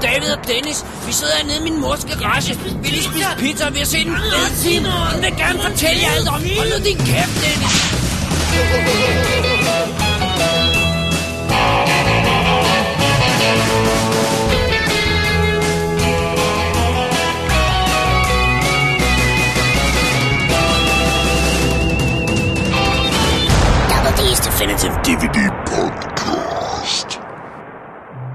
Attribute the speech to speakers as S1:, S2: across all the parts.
S1: Dennis. Vi sidder hernede i min mors garage. Vi lige spise pizza, og vi har set en fed film. Hun vil gerne fortælle jer alt om. Hold nu din kæft, Dennis.
S2: Double D's Definitive DVD Podcast.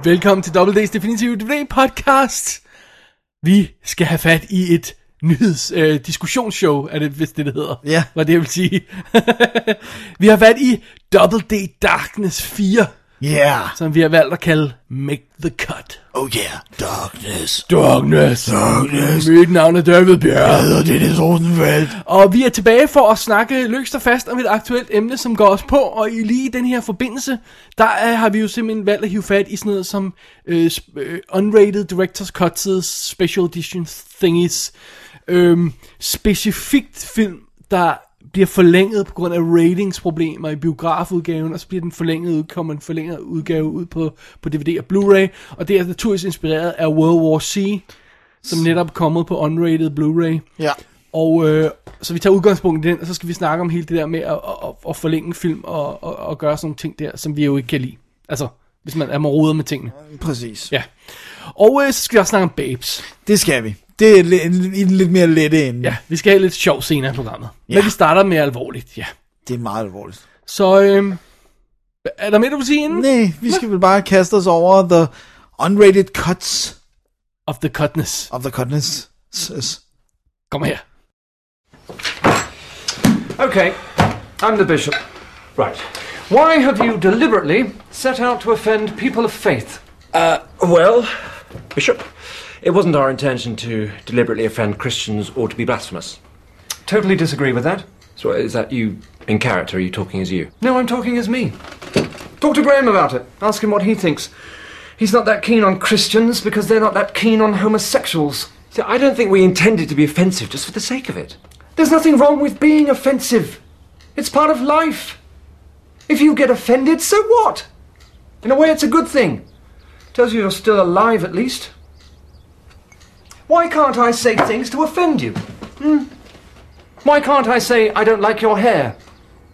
S3: Velkommen til Double D's Definitive DVD podcast. Vi skal have fat i et nyheds øh, diskussionsshow, er det vist det, det hedder.
S4: Ja.
S3: Var det, jeg vil sige. vi har fat i Double D Darkness 4,
S4: Yeah.
S3: som vi har valgt at kalde Make the Cut.
S4: Oh yeah. Darkness.
S3: Darkness.
S4: Darkness.
S3: Mit navn er David Bjerg.
S4: hedder Dennis Rosenfeldt.
S3: Og vi er tilbage for at snakke løst og fast om et aktuelt emne, som går os på. Og i lige den her forbindelse, der er, har vi jo simpelthen valgt at hive fat i sådan noget som øh, sp- øh, unrated director's cuts, special edition thingies. Øhm, specifikt film, der bliver forlænget på grund af ratingsproblemer i biografudgaven, og så bliver den forlænget ud, kommer en forlænget udgave ud på, på DVD og Blu-ray, og det er naturligvis inspireret af World War C, som netop er kommet på unrated Blu-ray.
S4: Ja.
S3: Og øh, så vi tager udgangspunkt i den, og så skal vi snakke om hele det der med at, at, at forlænge film og, og, og gøre sådan nogle ting der, som vi jo ikke kan lide. Altså, hvis man er roder med tingene.
S4: Præcis.
S3: Ja. Og øh, så skal vi også snakke om babes.
S4: Det skal vi. Det er li- en- i den lidt mere lette ende.
S3: Ja, vi skal have lidt sjov senere i programmet. Ja.
S4: Ja.
S3: Men vi starter med alvorligt, ja.
S4: Det er meget alvorligt.
S3: Så øh, er der mere, du vil sige inden?
S4: Nej, vi skal vel bare kaste os over the unrated cuts
S3: Of the cutness.
S4: of the cutness.
S3: Kom her.
S5: Okay, I'm the bishop. Right. Why have you deliberately set out to offend people of faith?
S6: Well, Bishop, it wasn't our intention to deliberately offend Christians or to be blasphemous.
S5: Totally disagree with that.
S6: So is that you in character? Are you talking as you?
S5: No, I'm talking as me. Talk to Graham about it. Ask him what he thinks. He's not that keen on Christians because they're not that keen on homosexuals.
S6: See, I don't think we intended to be offensive just for the sake of it.
S5: There's nothing wrong with being offensive. It's part of life. If you get offended, so what? In a way, it's a good thing. Tells you you're still alive, at least. Why can't I say things to offend you? Hmm? Why can't I say, I don't like your hair?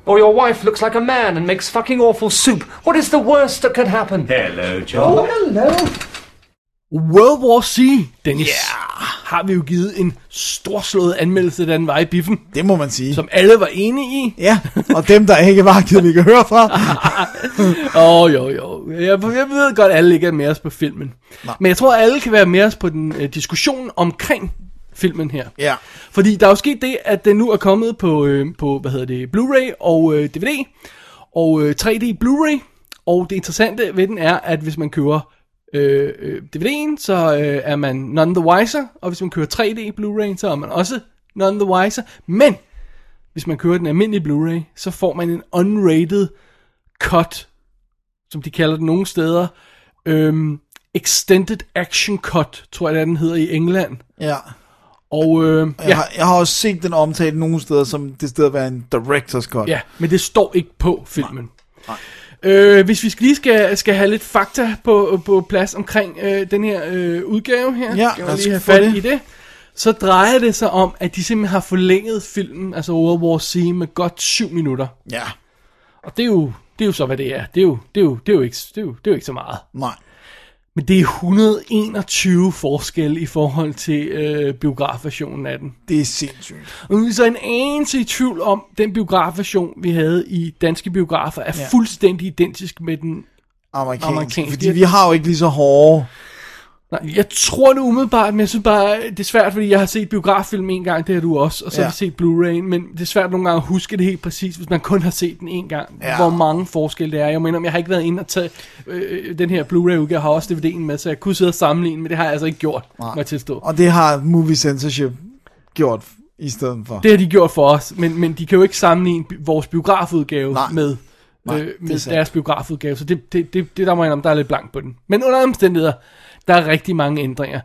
S5: Or your wife looks like a man and makes fucking awful soup? What is the worst that could happen?
S7: Hello, John.
S5: Oh, hello.
S3: World War C, Dennis. Yeah. Har vi jo givet en storslået anmeldelse, da den var i biffen,
S4: Det må man sige.
S3: som alle var enige i.
S4: Ja, og dem, der ikke var, gider vi ikke høre fra.
S3: Åh, oh, jo, jo. Jeg, jeg ved godt, at alle ikke er med os på filmen. Nej. Men jeg tror, at alle kan være med os på den øh, diskussion omkring filmen her.
S4: Ja.
S3: Fordi der er jo sket det, at den nu er kommet på, øh, på hvad hedder det, Blu-ray og øh, DVD, og øh, 3D Blu-ray. Og det interessante ved den er, at hvis man køber øh, øh, DVD'en, så øh, er man none the wiser, og hvis man køber 3D Blu-ray, så er man også none the wiser. Men hvis man køber den almindelige Blu-ray, så får man en unrated cut, som de kalder det nogle steder, øhm, Extended Action Cut, tror jeg, det er, den hedder i England.
S4: Ja.
S3: Og øh,
S4: Jeg,
S3: ja,
S4: har, jeg har også set den omtalt nogle steder, som det sted at være en director's cut.
S3: ja, men det står ikke på filmen. Nej. Øh, hvis vi skal lige skal, skal have lidt fakta på, på plads omkring øh, den her øh, udgave her,
S4: Ja,
S3: skal
S4: lad
S3: vi
S4: os
S3: lige have
S4: få
S3: fat
S4: det.
S3: i det, så drejer det sig om, at de simpelthen har forlænget filmen, altså World War C, med godt syv minutter.
S4: ja.
S3: Og det er jo, det er jo så, hvad det er. Det er jo, det er jo, det er jo, ikke, det er jo, det er jo ikke så meget.
S4: Nej.
S3: Men det er 121 forskel i forhold til øh, biografversionen af den.
S4: Det er sindssygt.
S3: Og nu er vi så en anelse i tvivl om, den biografversion, vi havde i danske biografer, er ja. fuldstændig identisk med den.
S4: Amerikansk.
S3: Amerikansk.
S4: Amerikansk. Fordi vi har jo ikke lige så hårde.
S3: Nej, jeg tror det umiddelbart, men jeg synes bare, det er svært, fordi jeg har set biograffilm en gang, det har du også, og så ja.
S4: Ja.
S3: har jeg set Blu-ray, men det er svært nogle gange at huske det helt præcis, hvis man kun har set den en gang, ja.
S4: Ja.
S3: hvor mange forskelle det er. Jeg mener, jeg har ikke været inde og tage øh, den her Blu-ray-udgave, jeg har også DVD'en med, så jeg kunne sidde og sammenligne, men det har jeg altså ikke gjort, Nej. må jeg tilstå.
S4: Og det har movie censorship gjort i stedet for.
S3: Det har de gjort for os, men, men de kan jo ikke sammenligne bi- vores biografudgave
S4: Nej.
S3: med,
S4: Nej,
S3: øh,
S4: det er
S3: med
S4: sandt.
S3: deres biografudgave, så det, det, det, det der må jeg indrømme, der er lidt blank på den. Men under alle omstændigheder, der er rigtig mange ændringer.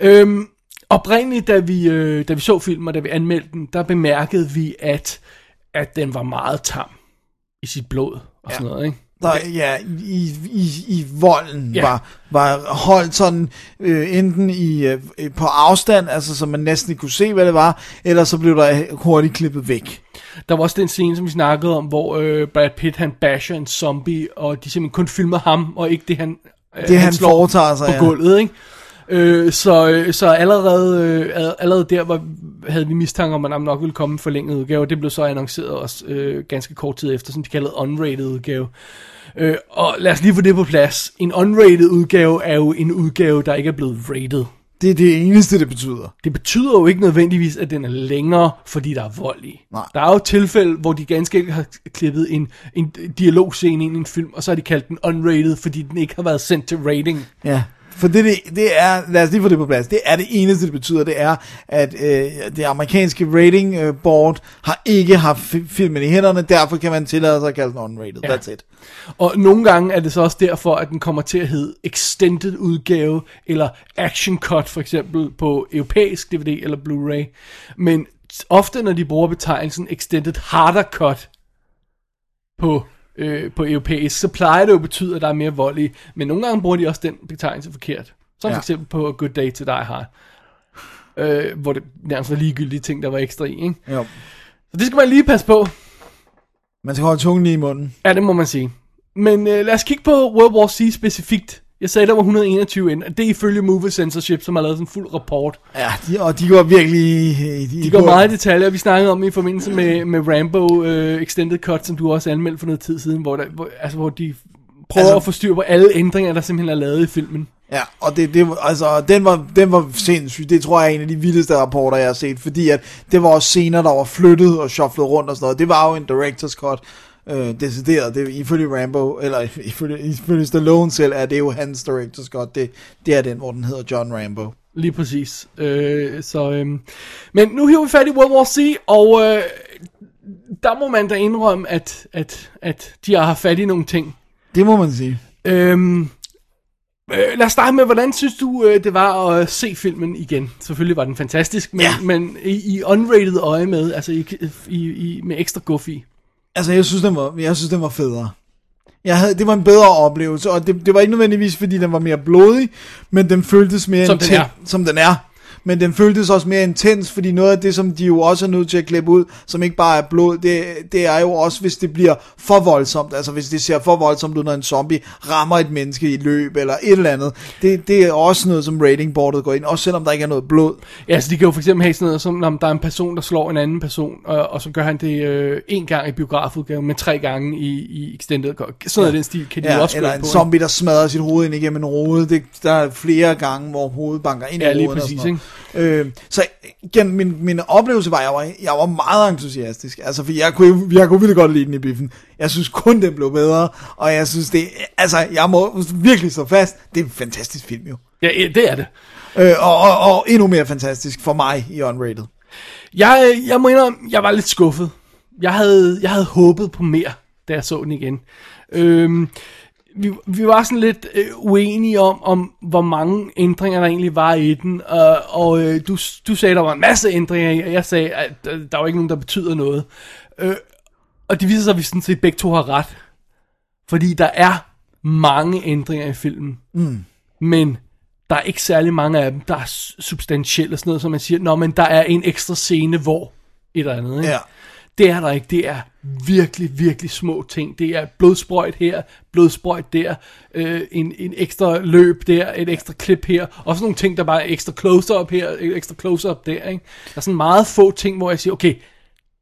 S3: Øhm, oprindeligt, da vi, øh, da vi så filmen, og da vi anmeldte den, der bemærkede vi, at, at den var meget tam i sit blod og ja. sådan noget, ikke?
S4: der ja, i, i, i volden
S3: Ja.
S4: ja. var, var holdt sådan øh, enten i, øh, på afstand, altså så man næsten ikke kunne se, hvad det var, eller så blev der hurtigt klippet væk.
S3: Der var også den scene, som vi snakkede om, hvor øh, Brad Pitt, han basher en zombie, og de simpelthen kun filmer ham, og ikke det, han, øh,
S4: Det, han
S3: slår
S4: foretager sig,
S3: på
S4: ja.
S3: gulvet, ikke? Øh, så, øh, så allerede, øh, al- allerede der var, havde vi mistanke om, at der nok ville komme en forlænget udgave. Det blev så annonceret også øh, ganske kort tid efter, som de kaldede unrated udgave. Øh, og lad os lige få det på plads. En unrated udgave er jo en udgave, der ikke er blevet rated.
S4: Det er det eneste, det betyder.
S3: Det betyder jo ikke nødvendigvis, at den er længere, fordi der er vold i.
S4: Nej.
S3: Der er jo tilfælde, hvor de ganske enkelt har klippet en, en dialogscene ind i en film, og så har de kaldt den unrated, fordi den ikke har været sendt til rating.
S4: Ja, for det, det, det er, lad os lige få det på plads, det er det eneste, det betyder, det er, at øh, det amerikanske rating øh, board har ikke haft fi- filmen i hænderne, derfor kan man tillade sig at kalde den unrated,
S3: Ja.
S4: ja. that's it.
S3: Og nogle gange er det så også derfor, at den kommer til at hedde Extended udgave, eller Action Cut for eksempel på europæisk DVD eller Blu-ray. Men ofte når de bruger betegnelsen Extended Harder Cut på, øh, på europæisk, så plejer det jo at betyde, at der er mere vold i. Men nogle gange bruger de også den betegnelse forkert. Som ja.
S4: Ja.
S3: for eksempel på Good Day to Die Hard. Øh, hvor det nærmest var ligegyldige ting, der var ekstra i. Ikke?
S4: Jo.
S3: Så det skal man lige passe på.
S4: Man skal holde tungen lige i munden.
S3: Ja, det må man sige. Men øh, lad os kigge på World War C specifikt. Jeg sagde, der var 121 ind, og det er ifølge Movie Censorship, som har lavet sådan en fuld rapport.
S4: Ja, de, og de går virkelig i, i,
S3: De går meget i detaljer, vi snakkede om i forbindelse med, med Rambo øh, Extended Cut, som du også anmeldte for noget tid siden, hvor, der, hvor, altså, hvor de prøver altså,
S4: Altså-
S3: at få styr på alle ændringer, der simpelthen er lavet i filmen.
S4: Ja, og det, det, var- altså, den, var, den var sindssyg. Det tror jeg er en af de vildeste rapporter, jeg har set, fordi at det var også scener, der var flyttet og shufflet rundt og sådan noget. Det var jo en director's cut, øh, decideret. Det, ifølge Rambo, eller ifølge, ifølge Stallone selv, er det jo hans director's cut. Det, det er den, hvor den hedder John Rambo.
S3: Lige præcis. Øh, så, øh. Men nu hiver vi fat i World War C, og øh, der må man da indrømme, at, at, at de har haft fat i nogle ting.
S4: Det må man sige.
S3: Øhm, øh, lad os starte med, hvordan synes du, øh, det var at se filmen igen? Selvfølgelig var den fantastisk, men,
S4: Ja.
S3: men i, i unrated øje med, altså i, i, i, med ekstra guff i.
S4: Altså, jeg synes, den var, jeg synes, den var federe. Jeg havde, det var en bedre oplevelse, og det, det var ikke nødvendigvis, fordi den var mere blodig, men den føltes mere
S3: Som
S4: intens,
S3: den er.
S4: som den er. Men den føltes også mere intens, fordi noget af det, som de jo også er nødt til at klippe ud, som ikke bare er blod, det, det er jo også, hvis det bliver for voldsomt. Altså hvis det ser for voldsomt ud, når en zombie rammer et menneske i løb eller et eller andet. Det, det er også noget, som ratingboardet går ind, også selvom der ikke er noget blod.
S3: Ja, så de kan jo for eksempel have sådan noget som, om der er en person, der slår en anden person, og, og så gør han det øh, en gang i biografudgaven, men tre gange i, i extended. cut. Sådan noget af den stil kan de jo
S4: Ja,
S3: også
S4: eller
S3: gøre
S4: en
S3: på. ikke?
S4: zombie, der smadrer sit hoved ind igennem en rode. Det, der er flere gange, hvor hovedet banker ind
S3: Ja,
S4: i
S3: lige
S4: roden.
S3: præcis,
S4: og sådan noget. Øh, så igen, min, min oplevelse var, at jeg var, jeg var meget entusiastisk. Altså, for jeg kunne, jeg kunne virkelig godt lide den i biffen. Jeg synes kun, den blev bedre. Og jeg synes det... Altså, jeg må virkelig stå fast. Det er en fantastisk film jo.
S3: Ja, ja, det er det.
S4: Øh, og, og, og endnu mere fantastisk for mig i Unrated.
S3: Jeg, øh, jeg må indrømme, jeg var lidt skuffet. Jeg havde, jeg havde håbet på mere, da jeg så den igen. Øhm, vi, vi var sådan lidt øh, uenige om, om, hvor mange ændringer der egentlig var i den, og, og øh, du, du sagde, der var en masse ændringer i, og jeg sagde, at øh, der var ikke nogen, der betyder noget. Øh, og det viser sig, at vi sådan set begge to har ret. Fordi der er mange ændringer i filmen. Mm. Men der er ikke særlig mange af dem, der er s- substantielle og sådan noget, som man siger, nå, men der er en ekstra scene, hvor et eller andet, ikke?
S4: Ja.
S3: Det er der ikke. Det er virkelig, virkelig små ting. Det er blodsprøjt her, blodsprøjt der, øh, en, en ekstra løb der, et ekstra klip her, og sådan nogle ting, der bare er ekstra close-up her, et ekstra close-up der, ikke? Der er sådan meget få ting, hvor jeg siger, okay,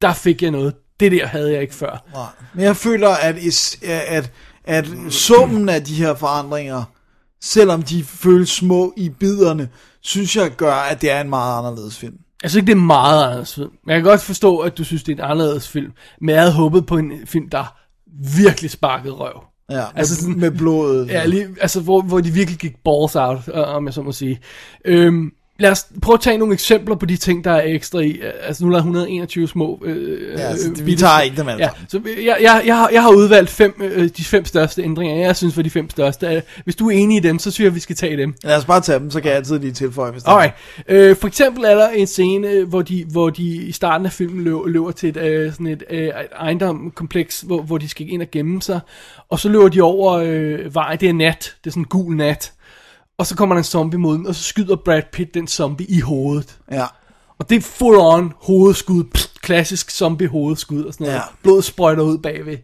S3: der fik jeg noget. Det der havde jeg ikke før.
S4: Nej. Men jeg føler, at, is- at, at summen af de her forandringer, selvom de føles små i biderne, synes jeg gør, at det er en meget anderledes film.
S3: Jeg synes ikke, det er meget anderledes film. Men jeg kan godt forstå, at du synes, det er en anderledes film. Men jeg havde håbet på en film, der virkelig sparkede røv.
S4: Ja,
S3: Altså
S4: altså med,
S3: sådan-
S4: sådan, med blodet.
S3: Ja, lige, altså hvor, hvor de virkelig gik balls out, øh, om jeg så må sige. Øhm, Lad os prøve at tage nogle eksempler på de ting, der er ekstra i. Altså, nu er der 121 små... Øh,
S4: Ja, altså,
S3: øh,
S4: vi
S3: bitte-
S4: tager altså. ikke dem alle
S3: Ja,
S4: sammen.
S3: så jeg, jeg, jeg, har, jeg har udvalgt fem, øh, de fem største ændringer, jeg synes var de fem største. Øh, Hvis du er enig i dem, så synes jeg, vi skal tage dem.
S4: Lad os bare tage dem, så kan jeg altid lige tilføje, hvis der er-
S3: Alright. Øh, for eksempel er der en scene, øh, hvor de, hvor de i starten af filmen løber, løber til et, øh, sådan et, øh, et ejendomkompleks, hvor, hvor de skal ind og gemme sig. Og så løber de over øh, vejen. Det er nat. Det er sådan en gul nat. Og så kommer der en zombie mod dem, og så skyder Brad Pitt den zombie i hovedet.
S4: Ja.
S3: Og det er full on hovedskud, pst, klassisk zombie hovedskud og sådan noget.
S4: Ja.
S3: Ja. Blod sprøjter ud bagved.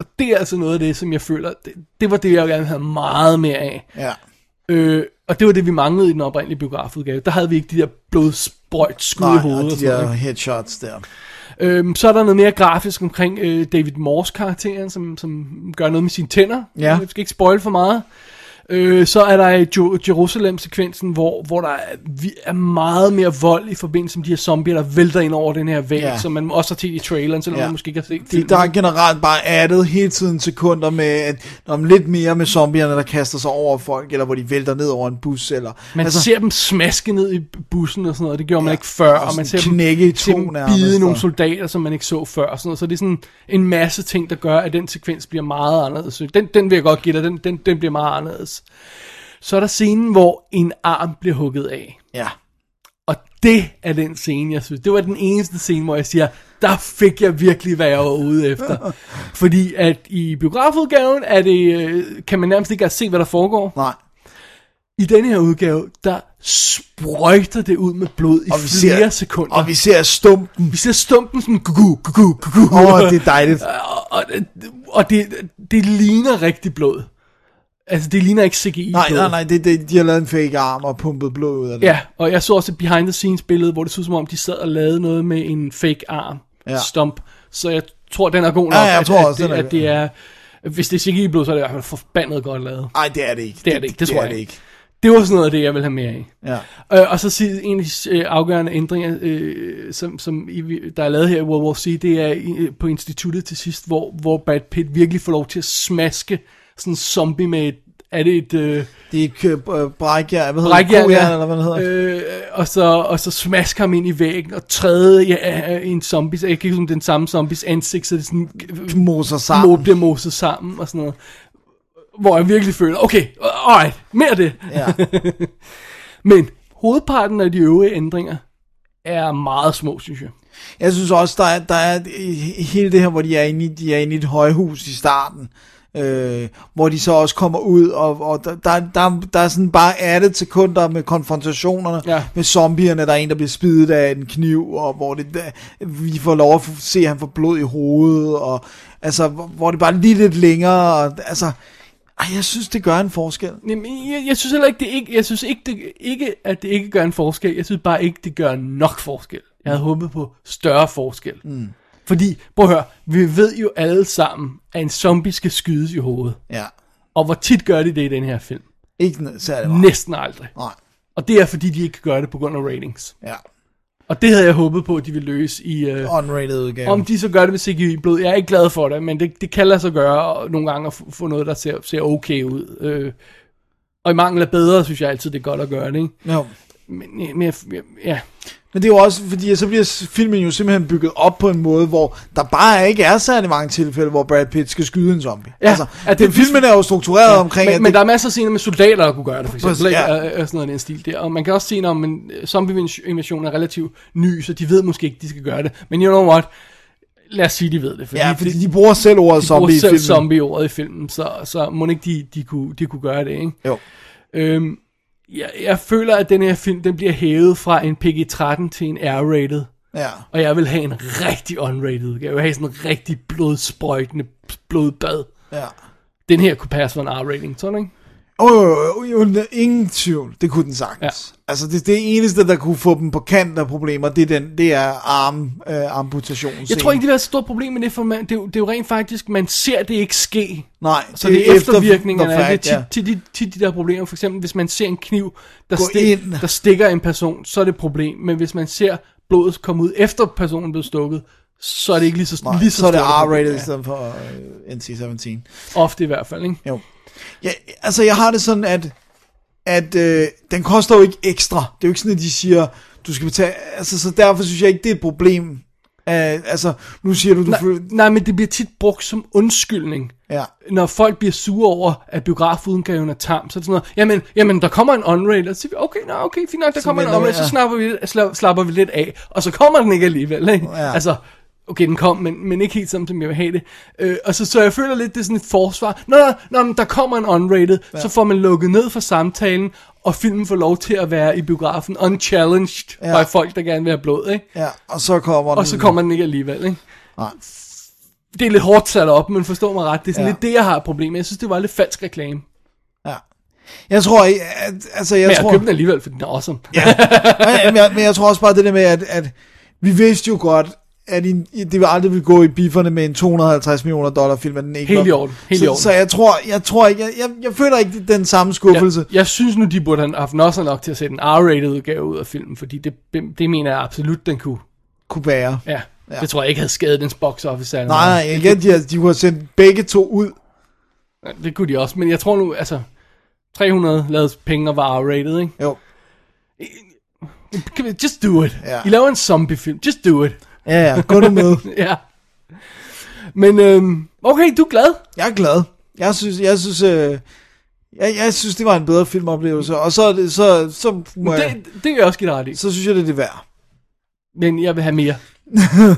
S3: Og det er altså noget af det, som jeg føler, det, det var det, jeg gerne havde meget mere af.
S4: Ja.
S3: Øh, og det var det, vi manglede i den oprindelige biografudgave. Der havde vi ikke de der blodsprøjt skud
S4: Nej,
S3: i hovedet.
S4: og
S3: Og
S4: de
S3: sådan
S4: der
S3: noget,
S4: headshots der.
S3: ikke? øhm, så er der noget mere grafisk omkring øh, David Morse karakteren, som, som gør noget med sine tænder.
S4: Ja.
S3: Jeg skal ikke spoil for meget. Øh, så er der jo- Jerusalem-sekvensen, hvor, hvor der er, vi- er meget mere vold i forbindelse med de her zombier, der vælter ind over den her væg,
S4: Ja.
S3: ja. som man også har set i traileren, selvom
S4: Ja.
S3: ja. man måske ikke har set
S4: De,
S3: filmen.
S4: der er generelt bare addet hele tiden sekunder med at, om lidt mere med zombierne, der kaster sig over folk, eller hvor de vælter ned over en bus. Eller,
S3: Man altså, ser dem smaske ned i bussen og sådan noget, det gjorde man
S4: Ja,
S3: ikke før,
S4: og
S3: og man ser
S4: sådan
S3: dem,
S4: knække i
S3: ser
S4: to
S3: dem
S4: nærmest,
S3: bide nogle
S4: og-
S3: soldater, som man ikke så før, og sådan noget. så det er sådan en masse ting, der gør, at den sekvens bliver meget anderledes. Så Den, den vil jeg godt give dig, den, den, den bliver meget anderledes. Så er der scenen, hvor en arm bliver hugget af,
S4: ja.
S3: og det er den scene, jeg synes, det var den eneste scene, hvor jeg siger, der fik jeg virkelig, hvad jeg var ude efter. Fordi at i biografudgaven er det, øh, kan man nærmest ikke se, hvad der foregår.
S4: Nej.
S3: I denne her udgave, der sprøjter det ud med blod i
S4: Og vi
S3: flere
S4: ser-
S3: sekunder.
S4: Og vi ser stumpen.
S3: vi ser stumpen sådan... Gugu, gugu, gugu,
S4: Åh, oh, det er dejligt.
S3: Og, og, og det, det ligner rigtig blod. Altså, det ligner ikke CGI.
S4: Nej,
S3: blod.
S4: nej, nej, det, det, de har lavet en fake arm og pumpet blod ud af det.
S3: Ja, og jeg så også et behind the scenes billede, hvor det så ud som om, de sad og lavede noget med en fake arm.
S4: Ja.
S3: Ja. Stump. Så jeg tror, den er god nok.
S4: Ja, jeg
S3: at-
S4: tror
S3: at,
S4: også,
S3: det,
S4: den er-
S3: at det er... Hvis det er CGI blod, så er det i hvert fald forbandet godt lavet.
S4: Nej, det er det ikke.
S3: Det er det ikke, det, tror
S4: er
S3: jeg ikke. Det var sådan noget af det, jeg ville have mere af.
S4: Ja.
S3: Øh, og så sig- en af de øh, afgørende ændringer, øh, som, som I, der er lavet her i World War C, det er i, på instituttet til sidst, hvor, hvor Brad Pitt virkelig får lov til at smaske sådan en zombie med et, er det et øh,
S4: Det er ikke øh, brækjær, hvad hedder
S3: brækjern,
S4: det? Kojern, eller hvad det hedder. Øh,
S3: øh, og, så, og så smasker ham ind i væggen og træde ja, øh, en zombie, jeg kan ikke huske, om det er den samme zombies ansigt, så det er sådan,
S4: moser sammen.
S3: Øh, mo- bliver moset sammen og sådan noget. Hvor jeg virkelig føler, okay, alright, mere af det.
S4: Ja.
S3: Men hovedparten af de øvrige ændringer er meget små, synes jeg.
S4: Jeg synes også, der er, der er i- hele det her, hvor de er inde i, de er inde i et højhus i starten, øh, hvor de så også kommer ud, og, og der, der, der, der er sådan bare attet sekunder med konfrontationerne
S3: Ja.
S4: med zombierne, der er en, der bliver spidet af en kniv, og hvor det, der- vi får lov at se, at han får blod i hovedet, og altså, hvor hvor det bare er lige lidt længere, og, altså, ej, jeg synes, det gør en forskel.
S3: Jamen, jeg, jeg synes heller ikke, det ikke, jeg synes ikke, det, ikke, at det ikke gør en forskel. Jeg synes bare ikke, det gør nok forskel. Jeg havde håbet på større forskel. Mm. Fordi, prøv at høre, vi ved jo alle sammen, at en zombie skal skydes i hovedet.
S4: Ja,
S3: Og hvor tit gør de det i den her film?
S4: ikke særlig meget.
S3: Næsten aldrig.
S4: Nej,
S3: Og det er fordi, de ikke gør det på grund af ratings.
S4: ja.
S3: Og det havde jeg håbet på, at de ville løse i... Øh,
S4: Unrated udgave.
S3: om de så gør det med CGI-blod, jeg er ikke glad for det, men det, det kan lade sig gøre og nogle gange at få- få noget, der ser, ser okay ud. Øh, og i mangel af bedre, synes jeg altid, det er godt at gøre det, ikke?
S4: Jo.
S3: Men, men jeg, jeg, ja.
S4: Men det er jo også, fordi så bliver filmen jo simpelthen bygget op på en måde, hvor der bare ikke er særlig mange tilfælde, hvor Brad Pitt skal skyde en zombie.
S3: Ja,
S4: altså,
S3: at
S4: det,
S3: det- ligesom-
S4: filmen er jo struktureret ja, omkring,
S3: Men,
S4: at
S3: men
S4: det,
S3: der er masser af scener med soldater, der kunne gøre det, for eksempel.
S4: Præcis,
S3: Ikke?
S4: ja.
S3: Ja. Og, og sådan noget i den stil der. Og man kan også se, når en zombie-invasion er relativt ny, så de ved måske ikke, de skal gøre det. Men you know what? Lad os sige, de ved det. Fordi
S4: ja, fordi de bruger selv ordet
S3: de
S4: zombie
S3: bruger
S4: i filmen.
S3: selv zombie-ordet i filmen, så, så må ikke de, de, kunne, de kunne gøre det, ikke?
S4: Jo.
S3: Øhm, jeg, jeg føler, at den her film den bliver hævet fra en PG-13 til en R-rated.
S4: Ja.
S3: Og jeg vil have en rigtig unrated. Jeg vil have sådan en rigtig blodsprøjtende blodbad.
S4: Ja.
S3: Den her kunne passe for en R-rating, sådan ikke?
S4: Oh, jo, jo, jo, jo, ingen tvivl, det kunne den sagtens. Ja. Altså det, det eneste, der kunne få dem på kant af problemer, det er, den, det er arm, øh, amputation.
S3: Jeg tror ikke, det er et stort problem med det, for man, det, er jo, det er jo rent faktisk, man ser det ikke ske.
S4: Nej,
S3: Så det, er eftervirkningerne
S4: efter the
S3: af det.
S4: fact,
S3: Tit,
S4: ja.
S3: tit, de- tit de der problemer, for eksempel hvis man ser en kniv, der,
S4: Gå
S3: stik,
S4: ind.
S3: der stikker en person, så er det et problem. Men hvis man ser blodet komme ud efter personen blev stukket, så er det ikke lige så,
S4: Nej,
S3: lige så,
S4: så er det
S3: stort et problem.
S4: R-rated i
S3: Ja.
S4: stedet for øh, NC-17.
S3: Ofte i hvert fald, ikke?
S4: Jo. Ja, altså, jeg har det sådan, at at øh, den koster jo ikke ekstra. Det er jo ikke sådan, at de siger, du skal betale... Altså, så derfor synes jeg ikke, det er et problem. Uh, altså, nu siger du, du...
S3: Nej,
S4: føler-
S3: nej, men det bliver tit brugt som undskyldning.
S4: Ja.
S3: Når folk bliver sure over, at biografudgaven er tam, så er det sådan noget, jamen, jamen der kommer en on-rail, og så siger vi, okay, nå, okay, fint nok, der kommer en
S4: venter vi,
S3: on-rail, så
S4: ja.
S3: slapper vi, sla- slapper vi lidt af, og så kommer den ikke alligevel, ikke?
S4: Ja.
S3: Altså, okay, den kom, men, men ikke helt sådan, som jeg vil have det. Øh, og så, så jeg føler lidt, det er sådan et forsvar. Nå, nå, nå men der kommer en unrated, ja. så får man lukket ned for samtalen, og filmen får lov til at være i biografen, unchallenged ja.
S4: Ja.
S3: by folk, der gerne vil have blod, ikke?
S4: ja, og så kommer den...
S3: Og så kommer den ikke alligevel, ikke?
S4: Nej.
S3: Det er lidt hårdt sat op, men forstå mig ret. Det er sådan ja.
S4: Ja.
S3: lidt det, jeg har et problem med. Jeg synes, det var lidt falsk reklame.
S4: Ja. Jeg tror... ikke, At, altså, jeg
S3: Men jeg,
S4: tror...
S3: jeg købte den alligevel, for den er awesome. Ja.
S4: ja, ja, men, jeg, men jeg tror også bare det der med, at, at vi vidste jo godt, at i, i- det vil aldrig ville gå i bifferne med en 250 millioner dollar film, at den ikke
S3: Helt
S4: var-
S3: i orden, helt i
S4: så,
S3: orden.
S4: Så jeg tror, jeg tror ikke, jeg, jeg, jeg føler ikke den samme skuffelse.
S3: Jeg, jeg synes nu, de burde have haft nosser nok til at sætte en R-rated udgave ud af filmen, fordi det, det mener jeg absolut, den kunne.
S4: kunne være.
S3: Ja. ja. Det tror jeg ikke havde skadet dens box office. eller
S4: Nej, nej, igen, de, har- de kunne have sendt begge to ud.
S3: noget. Det kunne de også, men jeg tror nu, altså... 300 lavede penge og var R-rated, ikke?
S4: Jo.
S3: Kan vi- Just do it.
S4: Ja.
S3: I laver en zombiefilm. Just do it.
S4: Ja, ja, gå nu med.
S3: Ja. Men øhm, okay, du er glad.
S4: Jeg er glad. Jeg synes, jeg synes, øh, jeg, jeg synes, det var en bedre filmoplevelse. Og så, er det- så, så, må jeg,
S3: Det, det kan jeg også give dig ret i.
S4: så synes jeg, det er det værd.
S3: Men jeg vil have mere.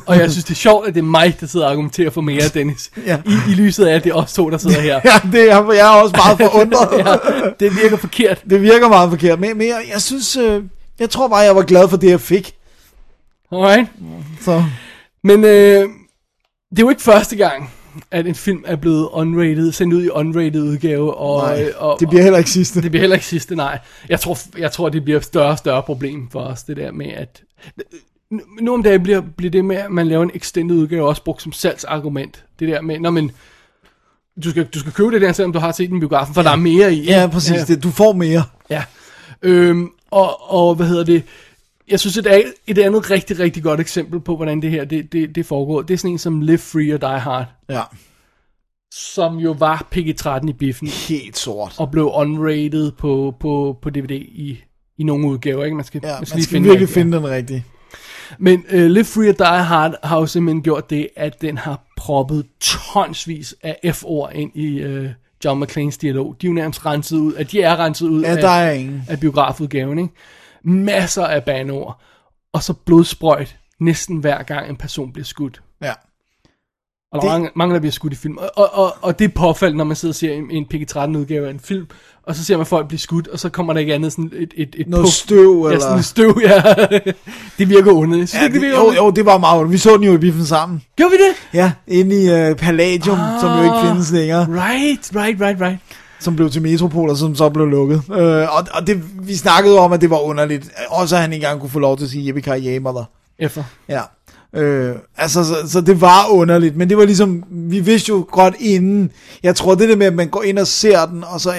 S3: og jeg synes, det er sjovt, at det er mig, der sidder og argumenterer for mere, Dennis.
S4: Ja.
S3: I, I lyset af, at det er os to, der sidder her.
S4: Ja, det er, jeg er også meget forundret.
S3: ja, det virker forkert.
S4: Det virker meget forkert, men, men jeg, jeg synes, øh, jeg tror bare, jeg var glad for det, jeg fik.
S3: Alright?
S4: Så
S3: Men øh, det er jo ikke første gang, at en film er blevet unrated, sendt ud i unrated udgave. Og,
S4: nej,
S3: øh, og,
S4: det bliver heller ikke sidste.
S3: Det bliver heller ikke sidste, nej. Jeg tror, jeg tror det bliver et større og større problem for os, det der med, at... Nu- Nu om dagen bliver, bliver det med, at man laver en extended udgave, også brugt som salgsargument. Det der med, når man... Du skal, du skal købe det der, selvom du har set den i biografen, for ja. der er mere i.
S4: Ja, præcis.
S3: Ja.
S4: Ja. Det, du får mere.
S3: ja. Øhm, og, og hvad hedder det? Jeg synes, et, a- et andet rigtig, rigtig godt eksempel på, hvordan det her det, det, det foregår, det er sådan en som Live Free or Die Hard,
S4: Ja,
S3: som jo var PG-13 i biffen,
S4: helt sort.
S3: og blev unrated på, på, på DVD i, i nogle udgaver, ikke? Man skal,
S4: Ja,
S3: man skal,
S4: man
S3: lige
S4: skal virkelig
S3: den,
S4: finde den rigtige.
S3: ja. Men uh, Live Free or Die Hard har jo simpelthen gjort det, at den har proppet tonsvis af F-ord ind i uh, John McClanes dialog. De er jo nærmest renset ud, at de er renset ud
S4: Ja,
S3: af,
S4: der er ingen.
S3: af biografudgaven, ikke? Masser af banord, og så blodsprøjt næsten hver gang en person bliver skudt.
S4: Ja.
S3: Og der det...
S4: Det-
S3: mange, mange, der bliver skudt i film. Og, og, og, og det er påfaldende, når man sidder og ser en, en PG-13-udgave af en film, og så ser man folk blive skudt, og så kommer der ikke andet sådan et, et, et
S4: Noget
S3: puff.
S4: støv,
S3: Ja, sådan
S4: eller...
S3: et støv, ja. det virker ondt. Jeg Synes
S4: Ja,
S3: ja, ikke, det
S4: det,
S3: virker
S4: jo,
S3: ondt?
S4: jo, det var meget ondt. Vi så den jo i biffen sammen.
S3: Gjorde vi det?
S4: Ja, inde i øh, Palladium, ah. som jo ikke findes længere.
S3: Right, right, right, right.
S4: Som blev til Metropol, og som så blev lukket. Øh, og og det, vi snakkede om, at det var underligt. Også at han ikke engang kunne få lov til at sige, at vi kan hjemme
S3: Efter.
S4: Ja. Øh, altså, så, så det var underligt, men det var ligesom, vi vidste jo godt inden, jeg tror det der med, at man går ind og ser den, og så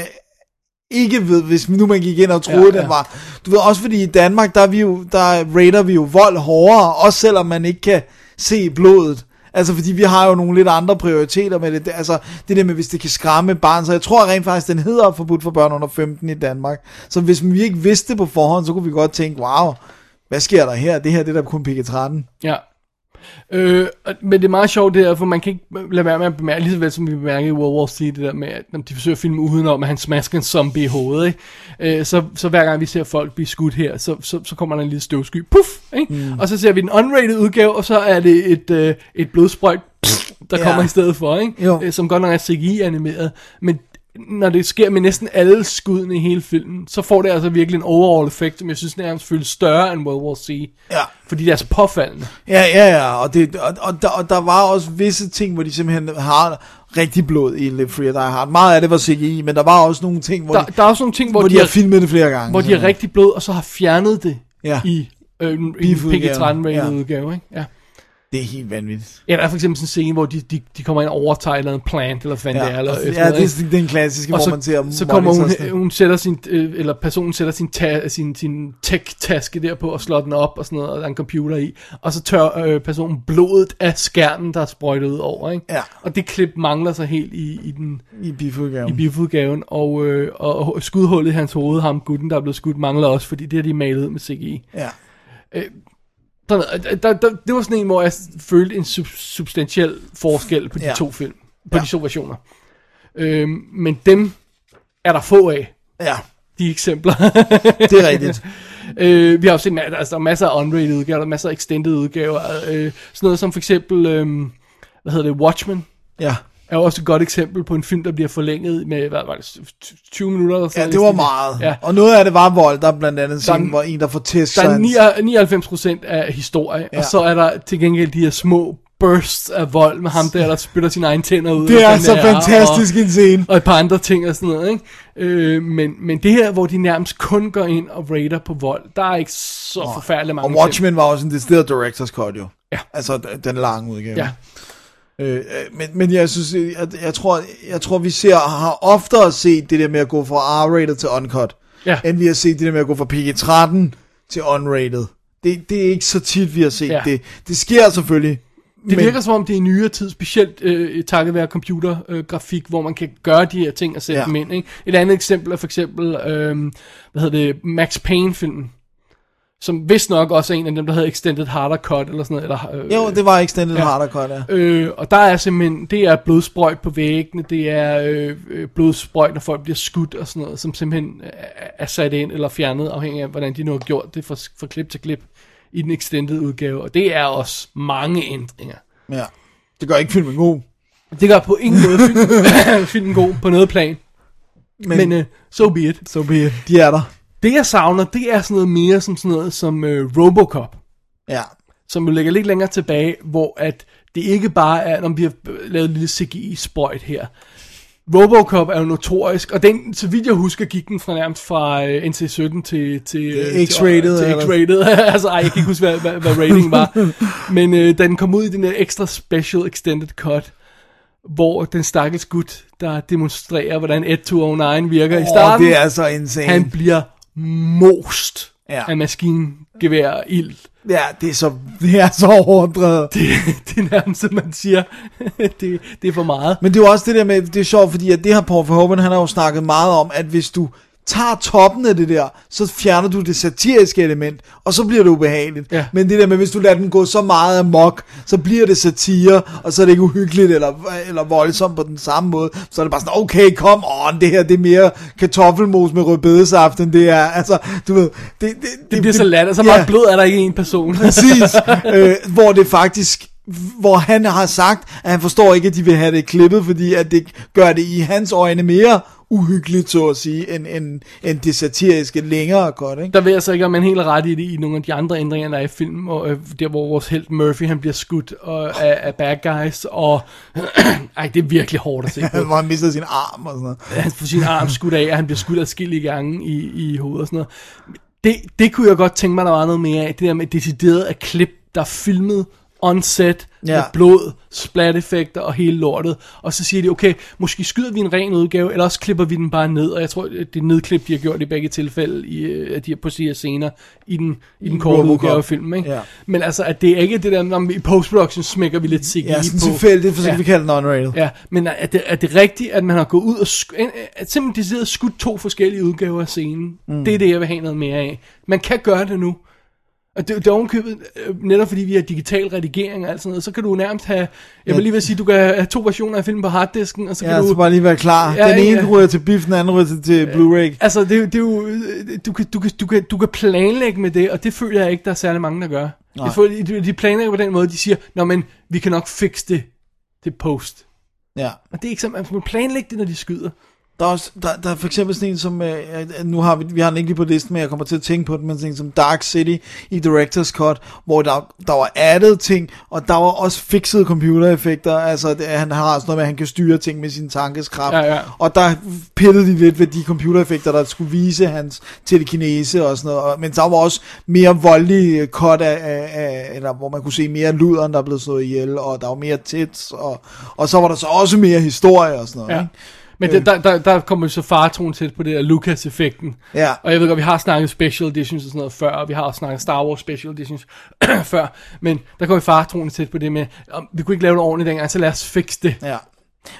S4: ikke ved, hvis nu man gik ind og troede,
S3: Ja,
S4: ja,
S3: ja.
S4: den var. Du ved, også fordi i Danmark, der, er vi jo, der rater vi jo vold hårdere, også selvom man ikke kan se blodet. Altså, fordi vi har jo nogle lidt andre prioriteter med det. Det- Altså, det der med, hvis det kan skræmme et barn. Så jeg tror rent faktisk, den hedder forbudt for børn under 15 i Danmark. Så hvis vi ikke vidste det på forhånd, så kunne vi godt tænke, wow, hvad sker der her? Det her, det er da kun PG-13.
S3: Ja. Øh, og- men det er meget sjovt det her, for man kan ikke lade være med at bemærke, lige så vel som vi bemærkede i World War C, det der med, at når de forsøger at filme udenom, at han smasker en zombie i hovedet, ikke? Øh, så, så hver gang vi ser folk blive skudt her, så, så, så kommer der en lille støvsky, puff, ikke? Mm. og så ser vi den unrated udgave, og så er det et, øh, et blodsprøjt, pff, der
S4: Ja.
S3: kommer i stedet for, ikke?
S4: Jo.
S3: Øh, som godt nok er CGI-animeret, men når det sker med næsten alle skuddene i hele filmen, så får det altså virkelig en overall effekt, som jeg synes nærmest føles større end World War C.
S4: Ja.
S3: Fordi det er så påfaldende.
S4: Ja, ja, ja, og, det, og, og, der, og der var også visse ting, hvor de simpelthen har rigtig blod i Live Free or Die Hard. Meget af det var CGI, men der var også nogle ting, hvor,
S3: der,
S4: de,
S3: der er også nogle ting, hvor,
S4: hvor de har
S3: har,
S4: filmet det flere gange.
S3: hvor de er rigtig blød, og så har fjernet det
S4: Ja.
S3: i øh, en- en
S4: Beef-udgaven,
S3: PG-13 rated
S4: ja.
S3: udgave, ikke? Ja.
S4: Det er helt vanvittigt.
S3: Ja, der er for eksempel sådan en scene, hvor de, de, de kommer ind og overtager et eller andet plant, eller hvad fanden det er.
S4: Ja,
S3: Eller,
S4: og-
S3: efter
S4: ja
S3: noget,
S4: det
S3: ikke?
S4: er den klassiske,
S3: og
S4: hvor
S3: så,
S4: man ser
S3: så kommer
S4: Molly
S3: hun,
S4: sådan-
S3: hun sætter sin, øh, eller personen sætter sin, ta, sin, sin tech-taske der på og slår den op og sådan noget, og der er en computer i, og så tør øh, personen blodet af skærmen, der er sprøjtet ud over, ikke?
S4: Ja.
S3: Og det klip mangler så helt i, i den
S4: i bifudgaven.
S3: i bifudgaven, og, øh, og, og skudhullet i hans hoved, ham gutten, der er blevet skudt, mangler også, fordi det har de malet ud med CGI.
S4: ja.
S3: Der, der, øh, der, der, det var sådan en, hvor jeg følte en sub, substantiel forskel på de
S4: Ja.
S3: to film, på
S4: Ja.
S3: de to versioner. Øhm, men dem er der få af,
S4: ja,
S3: de eksempler.
S4: det er rigtigt.
S3: Øh, vi har jo set ma- altså, der er masser af unrated udgaver, der er masser af extended udgaver. Øh, sådan noget som for eksempel, øh, hvad hedder det, Watchmen,
S4: Ja,
S3: er jo også et godt eksempel på en film, der bliver forlænget med, hvad var det, 20 minutter eller sådan noget
S4: ja
S3: i
S4: det var
S3: stil.
S4: meget.
S3: Ja.
S4: Og noget af det var vold. Der er blandt andet en
S3: Der er
S4: scene,
S3: en-
S4: hvor en, der får tæsk.
S3: Der
S4: så
S3: er
S4: han-
S3: 99 procent af historie, ja.
S4: Ja.
S3: og så er der til gengæld de her små bursts af vold med ham der, der spytter sine egne tænder ud.
S4: Det
S3: og
S4: er
S3: sådan
S4: så
S3: der,
S4: fantastisk
S3: Og,
S4: en scene.
S3: og et par andre ting og sådan noget, ikke? Øh, men, men det her, hvor de nærmest kun går ind og raider på vold, der er ikke så forfærdeligt mange
S4: Og Watchmen var også en decideret director's cut, jo.
S3: Ja.
S4: Altså d- den lange udgave.
S3: Ja.
S4: Øh, øh, men, men jeg synes, øh, jeg, jeg, tror, jeg tror, vi ser, har oftere set det der med at gå fra R-rated til uncut,
S3: Ja.
S4: end vi har set det der med at gå fra PG-13 til unrated. Det, det er ikke så tit, vi har set
S3: Ja.
S4: ja. det. Det sker selvfølgelig.
S3: Det
S4: men-
S3: virker som om det er i nyere tid, specielt øh, takket være computergrafik, øh, grafik, hvor man kan gøre de her ting og sætte ja.
S4: Ja.
S3: dem ind. Ikke? Et andet eksempel er for eksempel, øh, hvad hedder det, Max Payne-filmen, som vist nok også er en af dem, der hedder Extended Harder Cut, eller sådan noget. Eller, øh,
S4: Jo, det var extended
S3: Ja.
S4: ja. harder cut, ja.
S3: Øh, og der er simpelthen, det er blodsprøjt på væggene, det er øh, øh, blodsprøjt, når folk bliver skudt og sådan noget, som simpelthen øh, er sat ind eller fjernet, afhængig af, hvordan de nu har gjort det fra, fra klip til klip i den extended udgave. Og det er også mange ændringer.
S4: ja. Det gør ikke filmen god.
S3: Det gør på ingen måde filmen, filmen god på noget plan. Men, men uh, so be it.
S4: så bliver de er der.
S3: Det jeg savner, det er sådan noget mere som sådan noget som uh, Robocop,
S4: Ja.
S3: som jo ligger lidt længere tilbage, hvor at det ikke bare er, når vi har øh, lavet en lille CGI-sprøjt her. Robocop er jo notorisk, og den, så vidt jeg husker, gik den fra nærmest fra øh, NC-17 til, til, øh, til,
S4: X-rated,
S3: til
S4: eller?
S3: X-rated. altså, ej, jeg kan ikke huske, hvad, hvad, hvad rating var. Men øh, da den kom ud i den der ekstra special extended cut, hvor den stakkels gut, der demonstrerer, hvordan 1209 virker i
S4: Åh,
S3: starten,
S4: det er så insane.
S3: han bliver most ja.
S4: Ja.
S3: af maskingevær og ild.
S4: Ja, det er så, det er så overdrevet.
S3: Det, det er nærmest, at man siger, det, det er for meget.
S4: Men det er jo også det der med, det er sjovt, fordi at det her Paul Verhoeven, han har jo snakket meget om, at hvis du tager toppen af det der, så fjerner du det satiriske element, og så bliver det ubehageligt.
S3: Ja.
S4: Men det der med, hvis du lader den gå så meget amok, så bliver det satire, og så er det ikke uhyggeligt eller, eller voldsomt på den samme måde. Så er det bare sådan, okay, kom on, det her det er mere kartoffelmos med rødbedesaft, end det er, altså, du ved. Det, det, det,
S3: Det bliver så lat, og så meget
S4: ja.
S3: blod er der ikke i en person.
S4: Præcis. øh, hvor det faktisk hvor han har sagt, at han forstår ikke, at de vil have det klippet, fordi at det gør det i hans øjne mere uhyggeligt, så at sige, end, end, end det satiriske længere godt, ikke?
S3: Der ved jeg så ikke, om man er helt ret i det i nogle af de andre ændringer, der er i filmen, og, øh, der hvor vores held Murphy, han bliver skudt og, af, af bad guys, og ej, det er virkelig hårdt at se på.
S4: Hvor han mister sin arm og sådan noget.
S3: han får sin arm skudt af, og han bliver skudt adskillige gange i, i hovedet og sådan noget. Det, det kunne jeg godt tænke mig, der var noget mere af. Det der med decideret at klip, der er filmet on set ja.
S4: Ja.
S3: med blod, splatteffekter og hele lortet. Og så siger de, okay, måske skyder vi en ren udgave, eller også klipper vi den bare ned. Og jeg tror, at det nedklip, de har gjort i begge tilfælde, i, øh, at de har på sig scener i den, i den korte
S4: Robocop.
S3: udgave af filmen. Ikke?
S4: Ja.
S3: Men altså, at det er ikke det der, når vi i postproduktion smækker vi lidt CGI
S4: Ja, sådan
S3: på.
S4: tilfældigt, for så kan
S3: Ja.
S4: vi kalde den unrated.
S3: Ja, men er- er det, er det rigtigt, at man har gået ud og sk- en- at simpelthen decideret skudt to forskellige udgaver af scenen? Mm. Det er det, jeg vil have noget mere af. Man kan gøre det nu. Og det, det er ovenkøbet, øh, netop fordi vi har digital redigering og alt sådan noget, så kan du nærmest have, jeg vil lige ved at sige, du kan have to versioner af filmen på harddisken, og så kan
S4: Ja,
S3: du...
S4: så bare lige være klar.
S3: Ja,
S4: den ene
S3: ja.
S4: ryger til biff, den anden ryger til, til Blu-ray.
S3: Altså, det, er jo- det er jo, øh, du kan, du, kan, du, kan, du kan planlægge med det, og det føler jeg ikke, der er særlig mange, der gør. Jeg føler, de- de planlægger på den måde, de siger, nå, men vi kan nok fikse det til post.
S4: Ja.
S3: Og det er ikke sådan, man skal planlægge det, når de skyder.
S4: Der Der er, også, der, der er for eksempel sådan en som, øh, øh, nu har vi, vi har den ikke lige på listen, men jeg kommer til at tænke på den, men sådan en som Dark City i Director's Cut, hvor der, der var added ting, og der var også fixede computereffekter, altså det, han har sådan noget med, at han kan styre ting med sin tankeskraft,
S3: Ja, ja.
S4: og der pillede de lidt ved de computereffekter, der skulle vise hans telekinese og sådan noget, og, men der var også mere voldelige cut af, af, af, eller hvor man kunne se mere luderen, der blev slået ihjel, og der var mere tits, og, og så var der så også mere historie og sådan noget,
S3: Ja.
S4: ikke?
S3: Men
S4: Øh.
S3: det, der, der, der kommer jo så fartroen tæt på det der Lucas-effekten.
S4: Ja.
S3: Og jeg ved godt, vi har snakket Special Editions og sådan noget før, og vi har også snakket Star Wars Special Editions før. Men der kommer fartroen tæt på det med, om vi kunne ikke lave det ordentligt dengang, så lad os fikse det.
S4: Ja.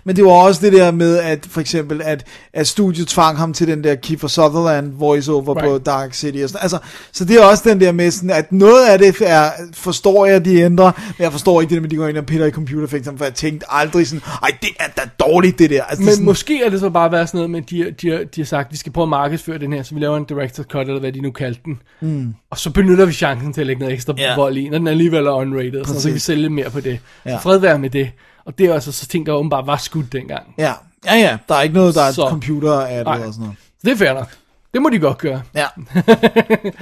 S4: Men det var også det der med, at for eksempel, at, at studiet tvang ham til den der Kiefer Sutherland voiceover right. på
S3: Right.
S4: Dark City og sådan. Altså, så det er også den der med sådan, at noget af det er, forstår jeg, de ændrer, men jeg forstår ikke det der med, de går ind og piller i computereffekterne, for jeg tænkte aldrig sådan, ej, det er da dårligt det der. Altså, det er
S3: Men
S4: sådan,
S3: måske er det så bare været sådan noget med, at de, de, har- de har sagt, vi skal prøve at markedsføre den her, så vi laver en director's cut, eller hvad de nu kaldte den. Mm. Og så benytter vi chancen til at lægge noget ekstra
S4: Ja.
S3: yeah. vold i, når den alligevel er unrated, og sådan, så kan vi
S4: Præcis.
S3: sælge lidt mere på det.
S4: Ja.
S3: Så fred være med det. Og det er altså så ting, der åbenbart var skudt dengang.
S4: ja. ja, ja, der er ikke noget, der er
S3: Så.
S4: et computer af det og
S3: Nej.
S4: sådan noget.
S3: Så det er fair nok. Det må de godt gøre.
S4: Ja.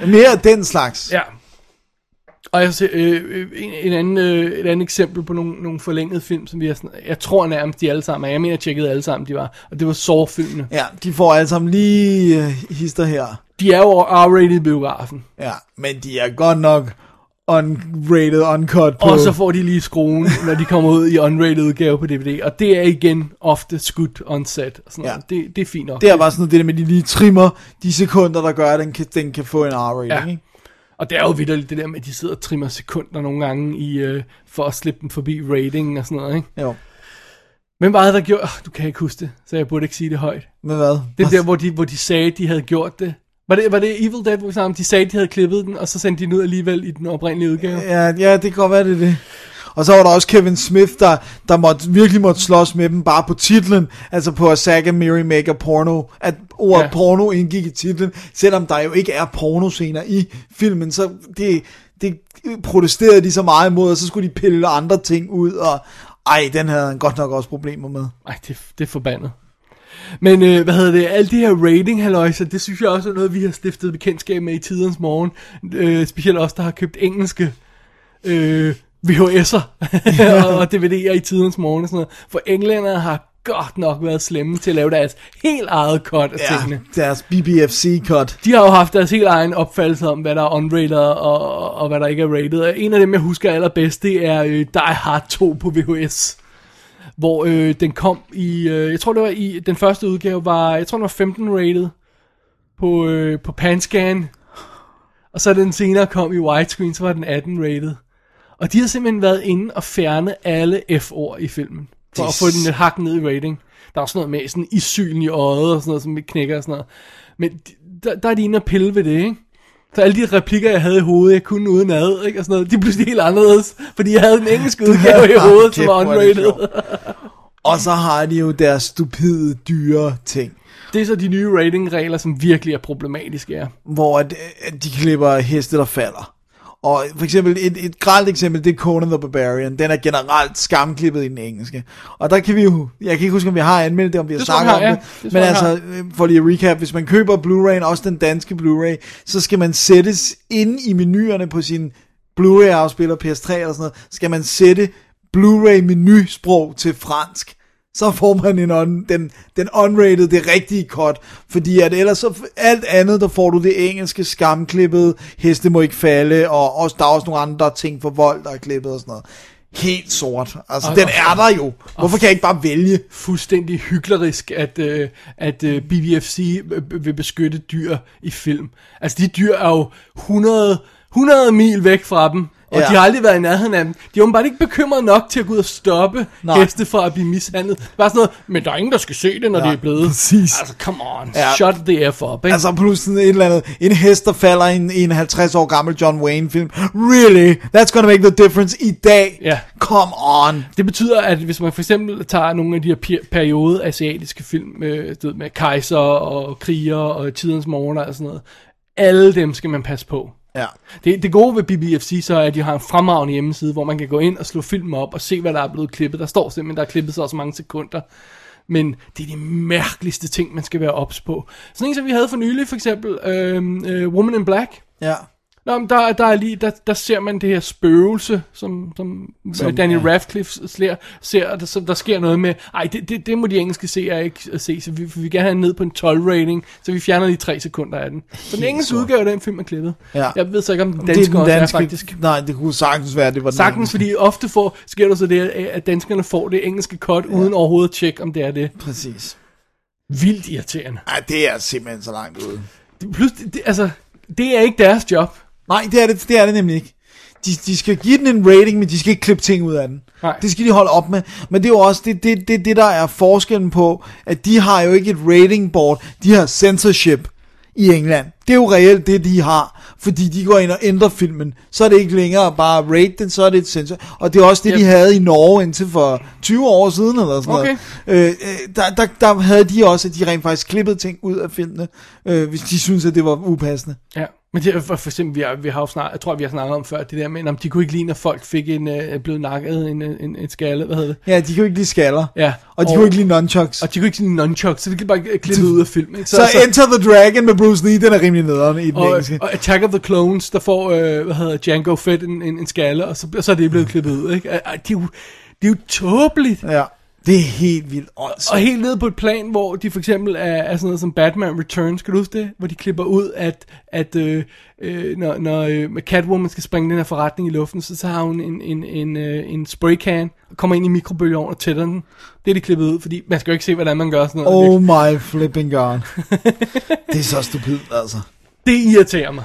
S4: Mere den slags.
S3: Ja. Og jeg ser, øh, øh, en, en anden, øh, et andet eksempel på nogle, nogle forlængede film, som vi har sådan, jeg tror nærmest de alle sammen er. Jeg mener, jeg tjekkede alle sammen, de var. Og det var Saw-filmene.
S4: Ja, de får alle sammen lige øh, hister her.
S3: De er jo R-rated i biografen.
S4: Ja, men de er godt nok unrated, uncut på.
S3: Og så får de lige skruen, når de kommer ud i unrated udgave på DVD. Og det er igen ofte skudt on set. Og sådan
S4: Ja.
S3: ja. det, det er fint nok.
S4: Det er bare sådan noget, det der med, at de lige trimmer de sekunder, der gør, at den kan, den kan få en R-rating, ja.
S3: Ja.
S4: ikke?
S3: Og det er jo vidderligt det der med, at de sidder og trimmer sekunder nogle gange i, øh, for at slippe dem forbi ratingen og sådan noget. Ikke?
S4: Jo,
S3: Men hvad havde der gjort? Oh, du kan ikke huske det, så jeg burde ikke sige det højt.
S4: men hvad?
S3: Det er der, hvor de, hvor de sagde, de havde gjort det. Var det, var det Evil Dead, hvor vi snakkede om, de sagde, de havde klippet den, og så sendte de den ud alligevel i den oprindelige udgave?
S4: Ja, ja, det kan godt være, det er det. Og så var der også Kevin Smith, der, der måtte, virkelig måtte slås med dem bare på titlen, altså på Saga Mary Maker Porno, at ordet ja.
S3: Ja.
S4: porno indgik i titlen, selvom der jo ikke er pornoscener i filmen, så det, det protesterede de så meget imod, og så skulle de pille andre ting ud, og ej, den havde han godt nok også problemer med.
S3: Ej, det, det er forbandet. Men øh, hvad hedder det, alle de her rating halløjser, det synes jeg også er noget, vi har stiftet bekendtskab med i tidens morgen. Øh, specielt os, der har købt engelske øh, VHS'er og, og DVD'er i tidens morgen og sådan noget. For englænderne har godt nok været slemme til at lave deres helt eget cut af ja.
S4: Ja,
S3: tingene.
S4: deres BBFC-cut.
S3: De har jo haft deres helt egen opfattelse om, hvad der er unrated og, og, og hvad der ikke er rated. Og En af dem, jeg husker allerbedst, det er øh, Die Hard 2 på VHS. Hvor øh, den kom i, øh, jeg tror det var i, den første udgave var, jeg tror den var 15 rated på, øh, på Panscan. Og så da den senere kom i widescreen, så var den 18 rated. Og de har simpelthen været inde og fjerne alle F-ord i filmen. For at få den et hak ned i rating. Der er også noget med sådan isyn i øjet og sådan noget, som ikke knækker og sådan noget. Men de- der, der er de inde og pille ved det, ikke? Så alle de replikker, jeg havde i hovedet, jeg kunne uden ad, ikke? Og sådan noget, de er pludselig helt anderledes, fordi jeg havde den engelske udgave i
S4: Ah,
S3: hovedet, som
S4: kæft,
S3: var
S4: hvor er det
S3: unrated.
S4: sjovt. Og så har de jo deres stupide, dyre ting,
S3: Det er så de nye ratingregler, som virkelig er problematiske, ja.
S4: hvor at, øh, at de klipper heste, der falder. Og for eksempel, et, et gralt eksempel, det er Conan the Barbarian. Den er generelt skamklippet i den engelske. Og der kan vi jo, jeg kan ikke huske, om vi har anmeldt det, om vi har
S3: Det tror jeg,
S4: snakket om
S3: vi har,
S4: det.
S3: ja. Det
S4: Men
S3: tror jeg, vi
S4: altså, øh, for lige at recap, hvis man køber Blu-ray'en, også den danske Blu-ray, så skal man sættes inde i menuerne på sin Blu-ray-afspiller, PS3 eller sådan noget, skal man sætte Blu-ray-menusprog til fransk. Så får man en on, den, den unrated, det rigtige cut, fordi at ellers så f- alt andet, der får du det engelske skamklippet, heste må ikke falde, og også, der er også nogle andre ting for vold, der er klippet og sådan noget. Helt sort. Altså,
S3: Og-
S4: den
S3: og-
S4: er der jo. Hvorfor kan jeg ikke bare vælge?
S3: fuldstændig hyklerisk, at, øh, at øh, BBFC b- b- vil beskytte dyr i film. Altså, de dyr er jo 100, 100 mil væk fra dem, og
S4: Ja.
S3: ja. de har aldrig været i nærheden af dem. De er åbenbart ikke bekymret nok til at gå ud og stoppe
S4: Nej.
S3: Nej. heste fra at blive mishandlet. Det er Bare sådan noget, men der er ingen, der skal se det, når
S4: Nej,
S3: Nej, det er blevet.
S4: præcis.
S3: Altså, come on,
S4: Ja.
S3: ja. shut the F up, ikke? Altså,
S4: Altså plus sådan et eller andet, en hest, der falder i en, i en 50 år gammel John Wayne film. Really? That's gonna make the difference i dag?
S3: Ja.
S4: Come on.
S3: det betyder, at hvis man for eksempel tager nogle af de her per- periode asiatiske film, øh, du ved, med kejser og kriger og tidens morgen og alt sådan noget, alle dem skal man passe på.
S4: Ja.
S3: Det, det gode ved BBFC så er, at de har en fremragende hjemmeside, hvor man kan gå ind og slå film op og se, hvad der er blevet klippet. Der står simpelthen, der er klippet så og så mange sekunder. men det er de mærkeligste ting, man skal være ops på. Sådan en, som vi havde for nylig, for eksempel øhm, øh, Woman in Black.
S4: Ja.
S3: Nå, men der, der, er lige, der, der ser man det her spøgelse, som, som, som Daniel ja. Radcliffe ser, ser og der, som, der sker noget med, ej, det, det, det må de engelske seere ikke se, så vi, vi vil gerne have den ned på en 12-rating, så vi fjerner lige 3 sekunder af den. Så den engelske udgave af den film er klippet.
S4: Ja.
S3: Jeg ved så ikke, om den
S4: Det
S3: danske også er
S4: danske-
S3: faktisk.
S4: Nej, det kunne sagtens være, det var den
S3: Sagtens,
S4: engelske.
S3: fordi ofte får, sker der så det, at danskerne får det engelske cut, ja. uden overhovedet at tjekke, om det er det.
S4: Præcis.
S3: Vildt irriterende.
S4: Ej, det er simpelthen så langt ude.
S3: Det, plus, det, det- altså, det er ikke deres job.
S4: Nej, det er det, det, er det nemlig ikke. De, de skal give den en rating, men de skal ikke klippe ting ud af den.
S3: Nej.
S4: Det skal de holde op med. Men det er jo også det, det, det, det, der er forskellen på, at de har jo ikke et rating board, de har censorship i England. Det er jo reelt det, de har, fordi de går ind og ændrer filmen. Så er det ikke længere bare at rate den, så er det et censor. Og det er også det, yep. de
S3: Yep.
S4: havde i Norge indtil for 20 år siden, eller sådan
S3: Okay.
S4: noget. Øh, øh, der, der, der havde de også, at de rent faktisk klippede ting ud af filmene, øh, hvis de synes at det var upassende.
S3: Ja, men det er for, for eksempel, vi har, vi har jo snart, jeg tror, vi har snakket om før, det der med, om de kunne ikke lide, når folk fik en, øh, blev nakket en, øh, en, en skalle, hvad hedder det?
S4: Ja, de kan jo ikke lide skaller.
S3: Ja.
S4: Og de kunne ikke lide nunchucks.
S3: Og de kunne ikke lide nunchucks, så vi kan bare klippe ud af filmen. ikke?
S4: Så, så Enter the Dragon med Bruce Lee, den er rimelig nederen i den
S3: og,
S4: engelske.
S3: og Attack of the Clones, der får, øh, hvad hedder Django Fett en, en, en skalle, og så, og så er det blevet klippet ud, ikke? Ej, ej, Det er jo, det er jo tåbeligt.
S4: Ja, det er helt vildt åndssvagt.
S3: Og helt nede på et plan, hvor de for eksempel er, er sådan noget som Batman Returns, kan du huske det? Hvor de klipper ud, at, at øh, øh, når, når øh, Catwoman skal springe den her forretning i luften, så, så har hun en, en, en, øh, en spraycan, og kommer ind i mikrobølgeovnen og tætter den. Det er de klippet ud, fordi man skal jo ikke se, hvordan man gør sådan noget.
S4: Oh my flipping god. det er så stupidt, altså.
S3: Det irriterer mig.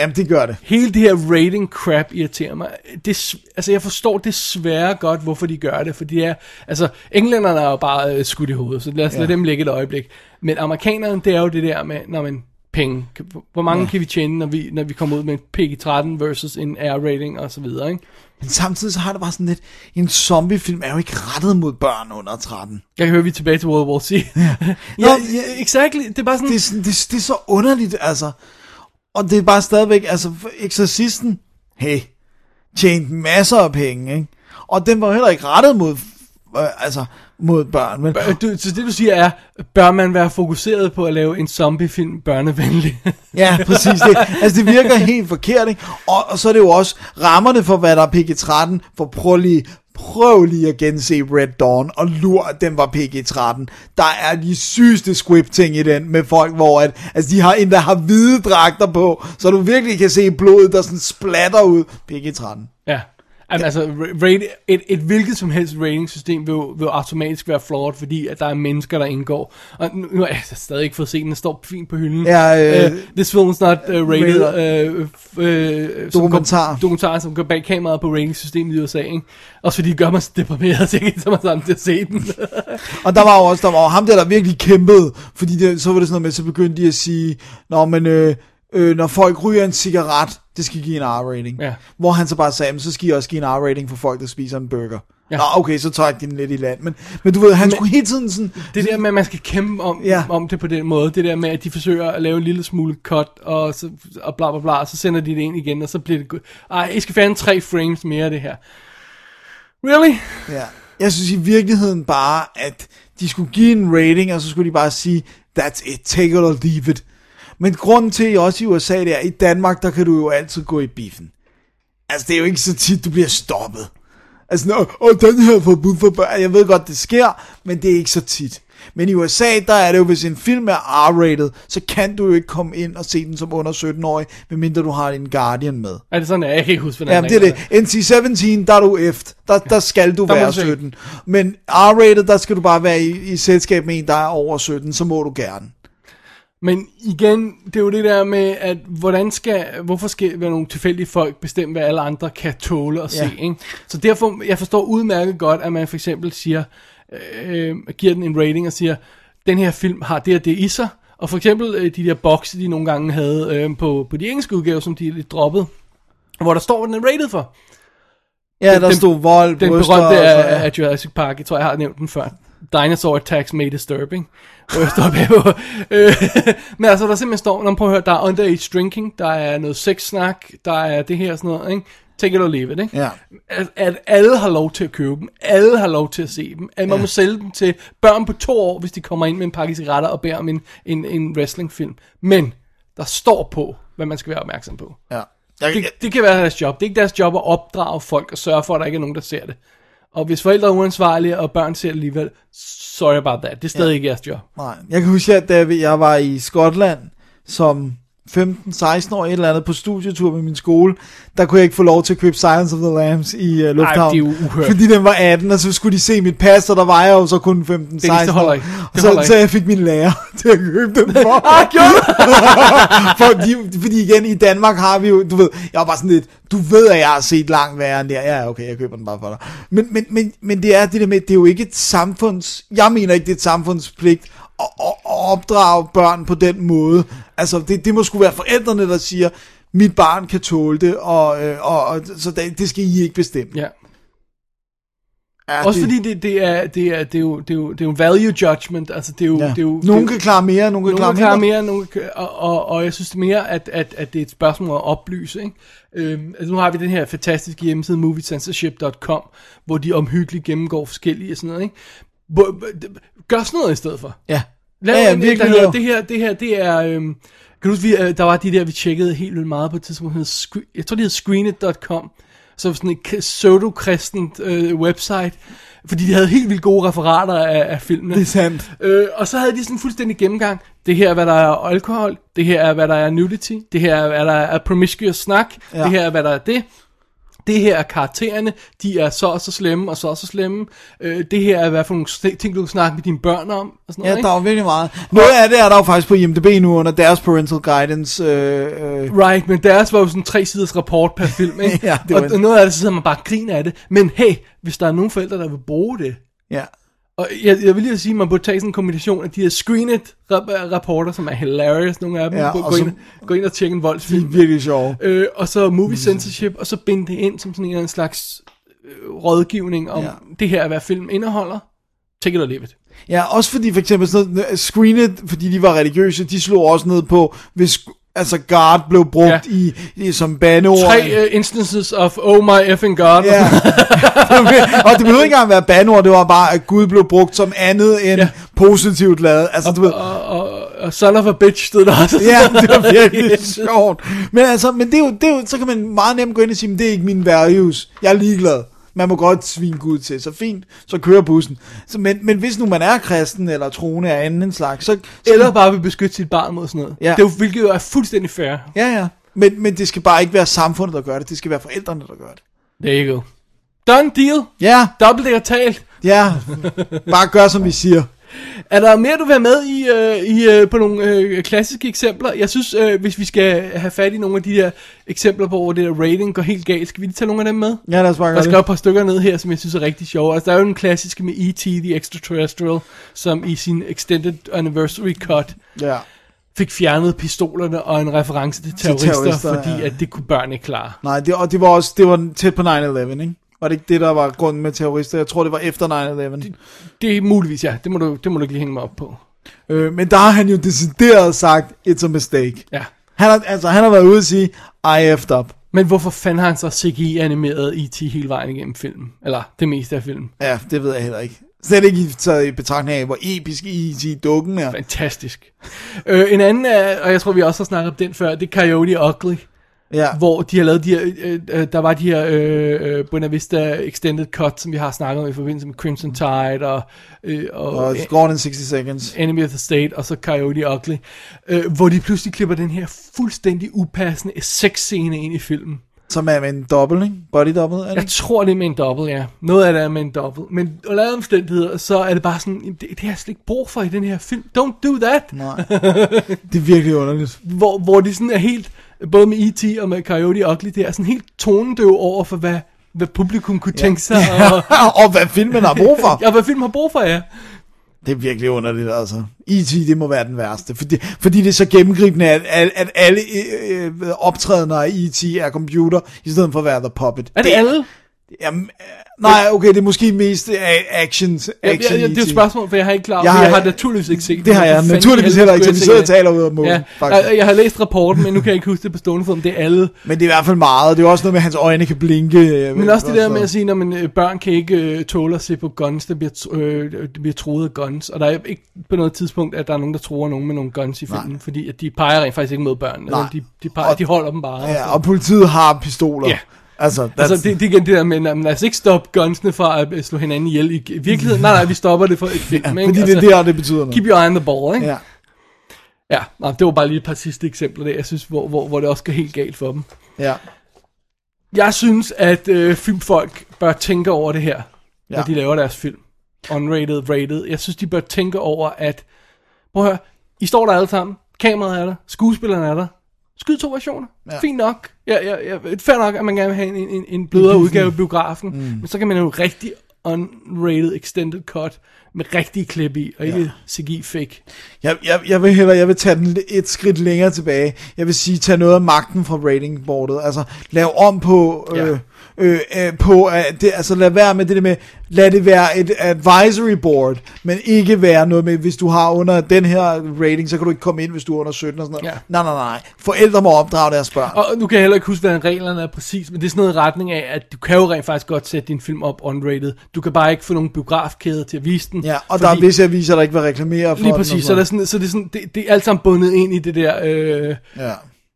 S4: Jamen, det gør det.
S3: Hele det her rating crap irriterer mig. Det, s- altså, jeg forstår desværre godt, hvorfor de gør det, for de er, altså, englænderne er jo bare øh, skudt i hovedet, så lad os ja. lade dem ligge et øjeblik. Men amerikanerne, det er jo det der med, når man penge, Kan- hvor mange ja. kan vi tjene, når vi, når vi kommer ud med en PG-13 versus en R-rating og så videre, ikke?
S4: Men samtidig så har det bare sådan lidt, en zombiefilm er jo ikke rettet mod børn under 13.
S3: Jeg kan høre, vi er tilbage til World War C. Ja,
S4: Nå,
S3: ja, ja exactly. Det er bare sådan,
S4: Det er, sådan, det, det er så underligt, altså. Og det er bare stadigvæk, altså, for Exorcisten, hey, tjente masser af penge, ikke? Og den var jo heller ikke rettet mod, øh, altså, mod børn. Men,
S3: Øh, Du, så det du siger er, bør man være fokuseret på at lave en zombiefilm børnevenlig?
S4: Ja, præcis. Det, altså, det virker helt forkert, ikke? Og, og så er det jo også rammerne for, hvad der er PG-13, for prøv lige, prøv lige at gense Red Dawn, og lur, at den var PG-13. Der er de sygeste script-ting i den, med folk, hvor at, altså, de har en, der har hvide dragter på, så du virkelig kan se blodet, der sådan splatter ud. PG-13.
S3: Ja. Jamen, altså, ra- rate, et, et hvilket som helst ratingsystem vil, jo- vil jo automatisk være flawed, fordi at der er mennesker, der indgår. Og nu, nu har jeg stadig ikke fået set den, den står fint på hylden.
S4: Ja, øh,
S3: uh, this film's not uh, rated. Uh, uh,
S4: Dokumentar.
S3: Som går, dokumentar, som går bag kameraet på ratingsystemet i USA, ikke? Også fordi det gør mig så deprimeret, så jeg ikke tager mig sammen til at se den.
S4: Og der var jo også, der var jo ham der, der virkelig kæmpede, fordi det, så var det sådan noget med, så begyndte de at sige, Nå, men øh, øh, når folk ryger en cigaret, det skal give en R-rating.
S3: Ja.
S4: Hvor han så bare sagde, "Men så skal I også give en R-rating for folk, der spiser en burger. Ja. Nå, okay, så trak de den lidt i land. Men, men du ved, han men, skulle hele tiden sådan,
S3: Det der med, at man skal kæmpe om,
S4: Ja.
S3: ja. om det på den måde, det der med, at de forsøger at lave en lille smule cut, og, så, og bla bla bla, og så sender de det ind igen, og så bliver det godt. Ej, I skal fandme tre frames mere af det her. Really?
S4: ja. jeg synes i virkeligheden bare, at de skulle give en rating, og så skulle de bare sige, that's it, take it or leave it. Men grunden til, at I også i USA, det er, i Danmark, der kan du jo altid gå i biffen. Altså, det er jo ikke så tit, du bliver stoppet. Altså, nå, åh, den her er forbudt for børn. Jeg ved godt, det sker, men det er ikke så tit. Men i USA, der er det jo, hvis en film er R-rated, så kan du jo ikke komme ind og se den som under 17-årig, medmindre du har en Guardian med.
S3: Er det sådan, at jeg kan ikke huske, hvordan
S4: Ja, det er det. NC-17, der er du efter. Der, der skal du
S3: Der må
S4: være
S3: du se.
S4: 17. Men R-rated, der skal du bare være i, i selskab med en, der er over 17, så må du gerne.
S3: Men igen, det er jo det der med, at hvordan skal, hvorfor skal være nogle tilfældige folk bestemme, hvad alle andre kan tåle at
S4: Ja.
S3: se, ikke? Så derfor, jeg forstår udmærket godt, at man for eksempel siger, øh, giver den en rating og siger, den her film har det og det i sig, og for eksempel øh, de der bokse, de nogle gange havde øh, på, på de engelske udgaver, som de lidt droppede, hvor der står, hvad den er rated for.
S4: Ja, der
S3: den-
S4: stod vold,
S3: Den
S4: bryster
S3: berømte
S4: og sådan-
S3: af, af Jurassic Park, jeg tror, jeg har nævnt den før. Dinosaur attacks may disturb, ikke? Hvor jeg står bagpå. Øh, Men altså, der simpelthen står, når prøver at høre, der er underage drinking, der er noget sexsnak, der er det her og sådan noget, ikke? Take it or leave it, ikke?
S4: Ja.
S3: At, at alle har lov til at købe dem, alle har lov til at se dem, at man ja. må sælge dem til børn på to år, hvis de kommer ind med en pakke cigaretter og beder om en, en, en wrestlingfilm. Men der står på, hvad man skal være opmærksom på.
S4: ja. Jeg, jeg,
S3: Det, det kan være deres job. Det er ikke deres job at opdrage folk og sørge for, at der ikke er nogen, der ser det. Og hvis forældre er uansvarlige, og børn ser det alligevel, sorry about that. Det er stadig ja. ikke jeres job.
S4: nej. jeg kan huske, at da vi- jeg var i Skotland som 15-16 år et eller andet på studietur med min skole, der kunne jeg ikke få lov til at købe Silence of the Lambs i uh,
S3: det
S4: Lufthavn.
S3: er jo uhørt.
S4: Fordi den var 18, og så skulle de se mit pas, og der var jeg jo så kun 15-16
S3: det holder
S4: år.
S3: ikke. Det
S4: Og så,
S3: holder
S4: så
S3: ikke.
S4: jeg fik min lærer til at købe dem for. ah, fordi, fordi igen, i Danmark har vi jo, du ved, jeg var bare sådan lidt, du ved, at jeg har set langt værre end det her. Ja, okay, jeg køber den bare for dig. Men, men, men, men det er det der med, det er jo ikke et samfunds, jeg mener ikke, det er et samfundspligt at, at, at opdrage børn på den måde. Altså, det, det må sgu være forældrene, der siger, mit barn kan tåle det, og, øh, og, og så det, det skal I ikke bestemme.
S3: Ja.
S4: Ja,
S3: Også
S4: det,
S3: fordi det, det, er, det, er, det, er jo, det, er jo, det er jo value judgment. Altså, det er jo,
S4: ja.
S3: det er jo,
S4: Nogen
S3: det,
S4: kan klare mere, nogen kan
S3: Nogle
S4: klare mindre.
S3: mere, nogle kan, og, og, og jeg synes mere, at, at, at det er et spørgsmål at oplyse. Ikke? Øhm, altså nu har vi den her fantastiske hjemmeside, moviecensorship.com, hvor de omhyggeligt gennemgår forskellige og sådan noget. Ikke? Hvor, gør sådan noget i stedet for.
S4: Ja.
S3: Lav
S4: Ja,
S3: ja,
S4: ja,
S3: ja, en, øh,
S4: virkelig
S3: der hedder,
S4: lav.
S3: det her, det her, det er, øhm, kan du huske, vi, øh, der var de der, vi tjekkede helt vildt meget på et tidspunkt, der hed Scre- jeg tror det hed screenit.com, som sådan et k- pseudo-kristent øh, website, fordi de havde helt vildt gode referater af, af filmene.
S4: Det er sandt.
S3: Øh, og så havde de sådan en fuldstændig gennemgang. Det her er, hvad der er alkohol. Det her er, hvad der er nudity. Det her er, hvad der er promiscuous snak.
S4: Ja.
S3: Ja. Det her er, hvad der er det. Det her er karaktererne. De er så og så slemme og så og så slemme. Øh, det her er, hvad for nogle st- ting, du kan snakke med dine børn om. Og sådan
S4: Ja,
S3: noget,
S4: der er jo virkelig meget. Noget af det er der jo faktisk på IMDb nu under deres parental guidance. Øh, øh.
S3: Right, men deres var jo sådan en tre siders rapport per film, ikke?
S4: Ja, det var
S3: og, og noget af det, så sidder man bare og griner af det. Men hey, hvis der er nogen forældre, der vil bruge det,
S4: Ja.
S3: Og jeg, jeg vil lige sige, at man burde tage sådan en kombination af de her screened rap- rapporter, som er hilarious, nogle af dem.
S4: Ja,
S3: Ja, gå,
S4: og
S3: gå,
S4: så-
S3: ind, gå ind og tjekke en
S4: De er
S3: voldsfilm.
S4: virkelig sjove.
S3: Øh, og så movie censorship, og så binde det ind som sådan en eller anden slags øh, rådgivning om,
S4: Ja.
S3: ja. det her er, hvad film indeholder. Take it or leave it.
S4: Ja, også fordi for eksempel sådan noget, screenet, fordi de var religiøse, de slog også ned på, hvis altså God blev brugt ja. øh.
S3: Ja.
S4: i, i, som bandeord.
S3: Tre uh, instances of oh my effing god.
S4: Ja. og det behøvede ikke engang være bandeord, det var bare, at Gud blev brugt som andet end ja.
S3: Ja.
S4: positivt lavet. Altså, du ved,
S3: Og, og, og son of a bitch stod der også.
S4: Ja, det var virkelig sjovt. Men altså, men det er, jo, det er jo, så kan man meget nemt gå ind og sige, "Men det er ikke mine values. Jeg er ligeglad. Man må godt svine Gud til, så fint, så kører bussen. Så, men, men hvis nu man er kristen eller troende af anden slags, så... så
S3: Eller bare vil beskytte sit barn mod sådan noget.
S4: Ja.
S3: Det er jo, hvilket jo er fuldstændig fair.
S4: Ja, ja. Men, men det skal bare ikke være samfundet, der gør det. Det skal være forældrene, der gør det.
S3: There you go. Done deal.
S4: Ja,
S3: Dobbelt det er talt.
S4: ja. Bare gør, som vi siger.
S3: Er der mere, du vil have med i, øh, i øh, på nogle øh, klassiske eksempler? Jeg synes, øh, hvis vi skal have fat i nogle af de der eksempler på, hvor det der rating går helt galt, skal vi lige tage nogle af dem med?
S4: Ja, lad os bare
S3: Der
S4: gøre
S3: skal et
S4: det.
S3: par stykker ned her, som jeg synes er rigtig sjove. Altså, der er jo den klassiske med E.T. The Extraterrestrial, som i sin Extended Anniversary Cut
S4: Ja.
S3: fik fjernet pistolerne og en reference til terrorister,
S4: terrorister,
S3: fordi
S4: ja.
S3: at det kunne børn ikke klare.
S4: Nej, det, og det var også det var tæt på 9-11, ikke? Var det ikke det, der var grunden med terrorister? Jeg tror, det var efter 9-11.
S3: Det er muligvis, ja. Det må du, det må du ikke lige hænge mig op på.
S4: Øh, men der har han jo decideret sagt, it's a mistake.
S3: Ja.
S4: Han har, altså, han har været ude og sige, I effed up.
S3: Men hvorfor fanden har han så CGI-animeret E.T. E hele vejen igennem filmen? Eller det meste af filmen.
S4: Ja, det ved jeg heller ikke. Slet ikke i- taget i betragtning af, hvor episk E.T. dukken er.
S3: Fantastisk. Øh, en anden, er, og jeg tror, vi også har snakket om den før, det er Coyote Ugly,
S4: Ja,
S3: hvor de har lavet de her, øh, øh, der var de her øh, øh, Buena Vista Extended Cut, som vi har snakket om i forbindelse med Crimson Tide og, øh, og,
S4: og
S3: øh,
S4: Gone in 60 Seconds.
S3: Enemy of the State, og så Coyote Ugly, øh, hvor de pludselig klipper den her fuldstændig upassende sexscene ind i filmen.
S4: Som er med en dobbelt, ikke? Body double, er det?
S3: Jeg
S4: ikke?
S3: tror, det er med en dobbelt, ja. Noget af det er med en dobbelt. Men under alle omstændigheder, så er det bare sådan, "Jamen, det, det har jeg slet ikke brug for i den her film. Don't do that!
S4: Nej. Det er virkelig underligt.
S3: hvor, hvor de sådan er helt, både med E.T. og med Coyote Ugly, det er sådan helt tonedøv over for, hvad, hvad publikum kunne tænke sig, og,
S4: og hvad filmen har brug for.
S3: ja, hvad film har brug for, ja.
S4: Det er virkelig underligt, altså. E.T., det må være den værste. Fordi, fordi det er så gennemgribende, at, at, at E alle øh, øh, optrædener af E.T. er computer, i stedet for at være The Puppet.
S3: Er det, alle?
S4: Jamen, øh, nej, okay, det er måske mest øh, actions.
S3: Ja,
S4: action
S3: ja, ja, det er et spørgsmål, for jeg har ikke klar
S4: E Jeg
S3: jeg har,
S4: har-
S3: jeg har naturligvis ikke set den.
S4: Det har jeg
S3: Hvorfor fanden
S4: naturligvis
S3: i
S4: heller
S3: helvede
S4: ikke, så vi
S3: skulle
S4: sidder
S3: jeg
S4: og
S3: se den?
S4: taler ud af målen,
S3: Ja,
S4: faktisk.
S3: jeg, jeg har læst rapporten, men nu kan jeg ikke huske det på stående fod, om det er alle.
S4: Men det er i hvert fald meget. Det er jo også noget med, at hans øjne kan blinke. øh,
S3: Men også det der
S4: så-
S3: med at sige, når man, øh, børn kan ikke øh, tåle at se på guns, der bliver, tr- øh, der bliver troet af guns. Og der er ikke på noget tidspunkt, at der er nogen, der tror nogen med nogle guns i filmen, Nej. fordi at de peger rent faktisk ikke mod børn.
S4: Nej.
S3: Altså, de, de, peger,
S4: Og-
S3: de holder dem bare.
S4: Ja, og politiet har pistoler.
S3: Ja.
S4: Altså, that's,
S3: Altså, det, det er igen det der med, at lad os ikke stoppe gunsene fra at øh, slå hinanden ihjel i i virkeligheden. Nej, nej, vi stopper det for et film,
S4: ja,
S3: ikke?
S4: fordi det er der, det betyder noget.
S3: altså, Keep your eye on the ball, ikke?
S4: Ja.
S3: Ja, nej, det var bare lige et par sidste eksempler der, jeg synes, hvor, hvor, hvor det også går helt galt for dem.
S4: Ja.
S3: Jeg synes, at øh, filmfolk bør tænke over det her, ja.
S4: Ja.
S3: når de laver deres film. Unrated, rated. Jeg synes, de bør tænke over, at... Prøv at høre, I står der alle sammen. Kameraet er der. Skuespillerne er der. Skyd to versioner.
S4: Ja.
S3: Ja. Fint nok. Ja, ja, ja, fair nok, at man gerne vil have en, en, en blødere udgave af biografen. Mm. Men så kan man jo rigtig unrated extended cut med rigtige klip i, og ikke
S4: Ja.
S3: ja. CGI fake.
S4: Jeg, jeg, jeg vil hellere, jeg vil tage den et skridt længere tilbage. Jeg vil sige, tag noget af magten fra ratingboardet. Altså, lav om på... Øh,
S3: Ja.
S4: øh, øh, på at det, altså lad være med det der med, lad det være et advisory board, men ikke være noget med, hvis du har under den her rating, så kan du ikke komme ind, hvis du er under 17 og sådan noget.
S3: Ja.
S4: Nej, nej, nej. Forældre må opdrage deres børn.
S3: Og nu kan jeg heller ikke huske, hvad reglerne er præcis, men det er sådan noget i retning af, at du kan jo rent faktisk godt sætte din film op unrated. Du kan bare ikke få nogen biografkæder til at vise den.
S4: Ja, og der er visse aviser, der ikke vil reklamere for
S3: Lige
S4: den og
S3: præcis, så,
S4: sådan
S3: der er sådan, så det, er sådan, det, det er alt sammen bundet ind i det der øh,
S4: noget. Ja.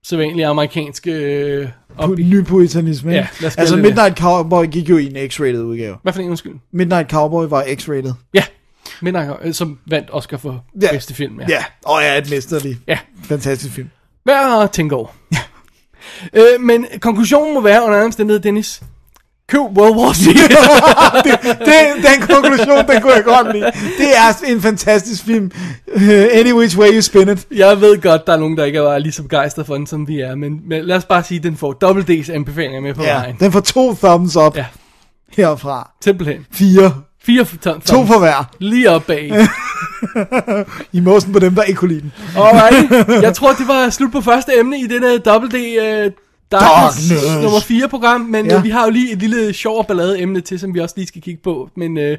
S3: sædvanlige amerikanske... Øh, op
S4: Pu- ny puritanisme, ikke?
S3: Ja, lad os kalde
S4: Altså
S3: det
S4: Midnight Cowboy gik jo i en X-rated udgave.
S3: Hvad for en, undskyld?
S4: Midnight Cowboy var X-rated.
S3: Ja, Midnight, øh, som vandt Oscar for
S4: Ja.
S3: ja. bedste film. Ja.
S4: Ja, og ja, et mesterligt.
S3: ja.
S4: Fantastisk film.
S3: Værd at tænke over. øh, men konklusionen må være under andre omstændighed, Dennis. Køb World War Z.
S4: Det, den konklusion, den kunne jeg godt lide. Det er en fantastisk film. Øh, Any which way you spin it.
S3: Jeg ved godt, der er nogen, der ikke er lige så begejstret for den, som vi er, men, men lad os bare sige, at den får dobbelt D's anbefalinger med på
S4: Ja,
S3: ja. vejen.
S4: den får to thumbs up
S3: Ja,
S4: herfra.
S3: simpelthen.
S4: Fire.
S3: Fire ton,
S4: To for hver.
S3: Lige op bag.
S4: I måsen på dem, der ikke kunne lide den.
S3: Alright. Jeg tror, det var slut på første emne i denne dobbelt D uh, Darkness,
S4: Darkness.
S3: nummer 4 program, men
S4: Ja.
S3: ja. vi har jo lige et lille sjov og ballade emne til, som vi også lige skal kigge på, men uh,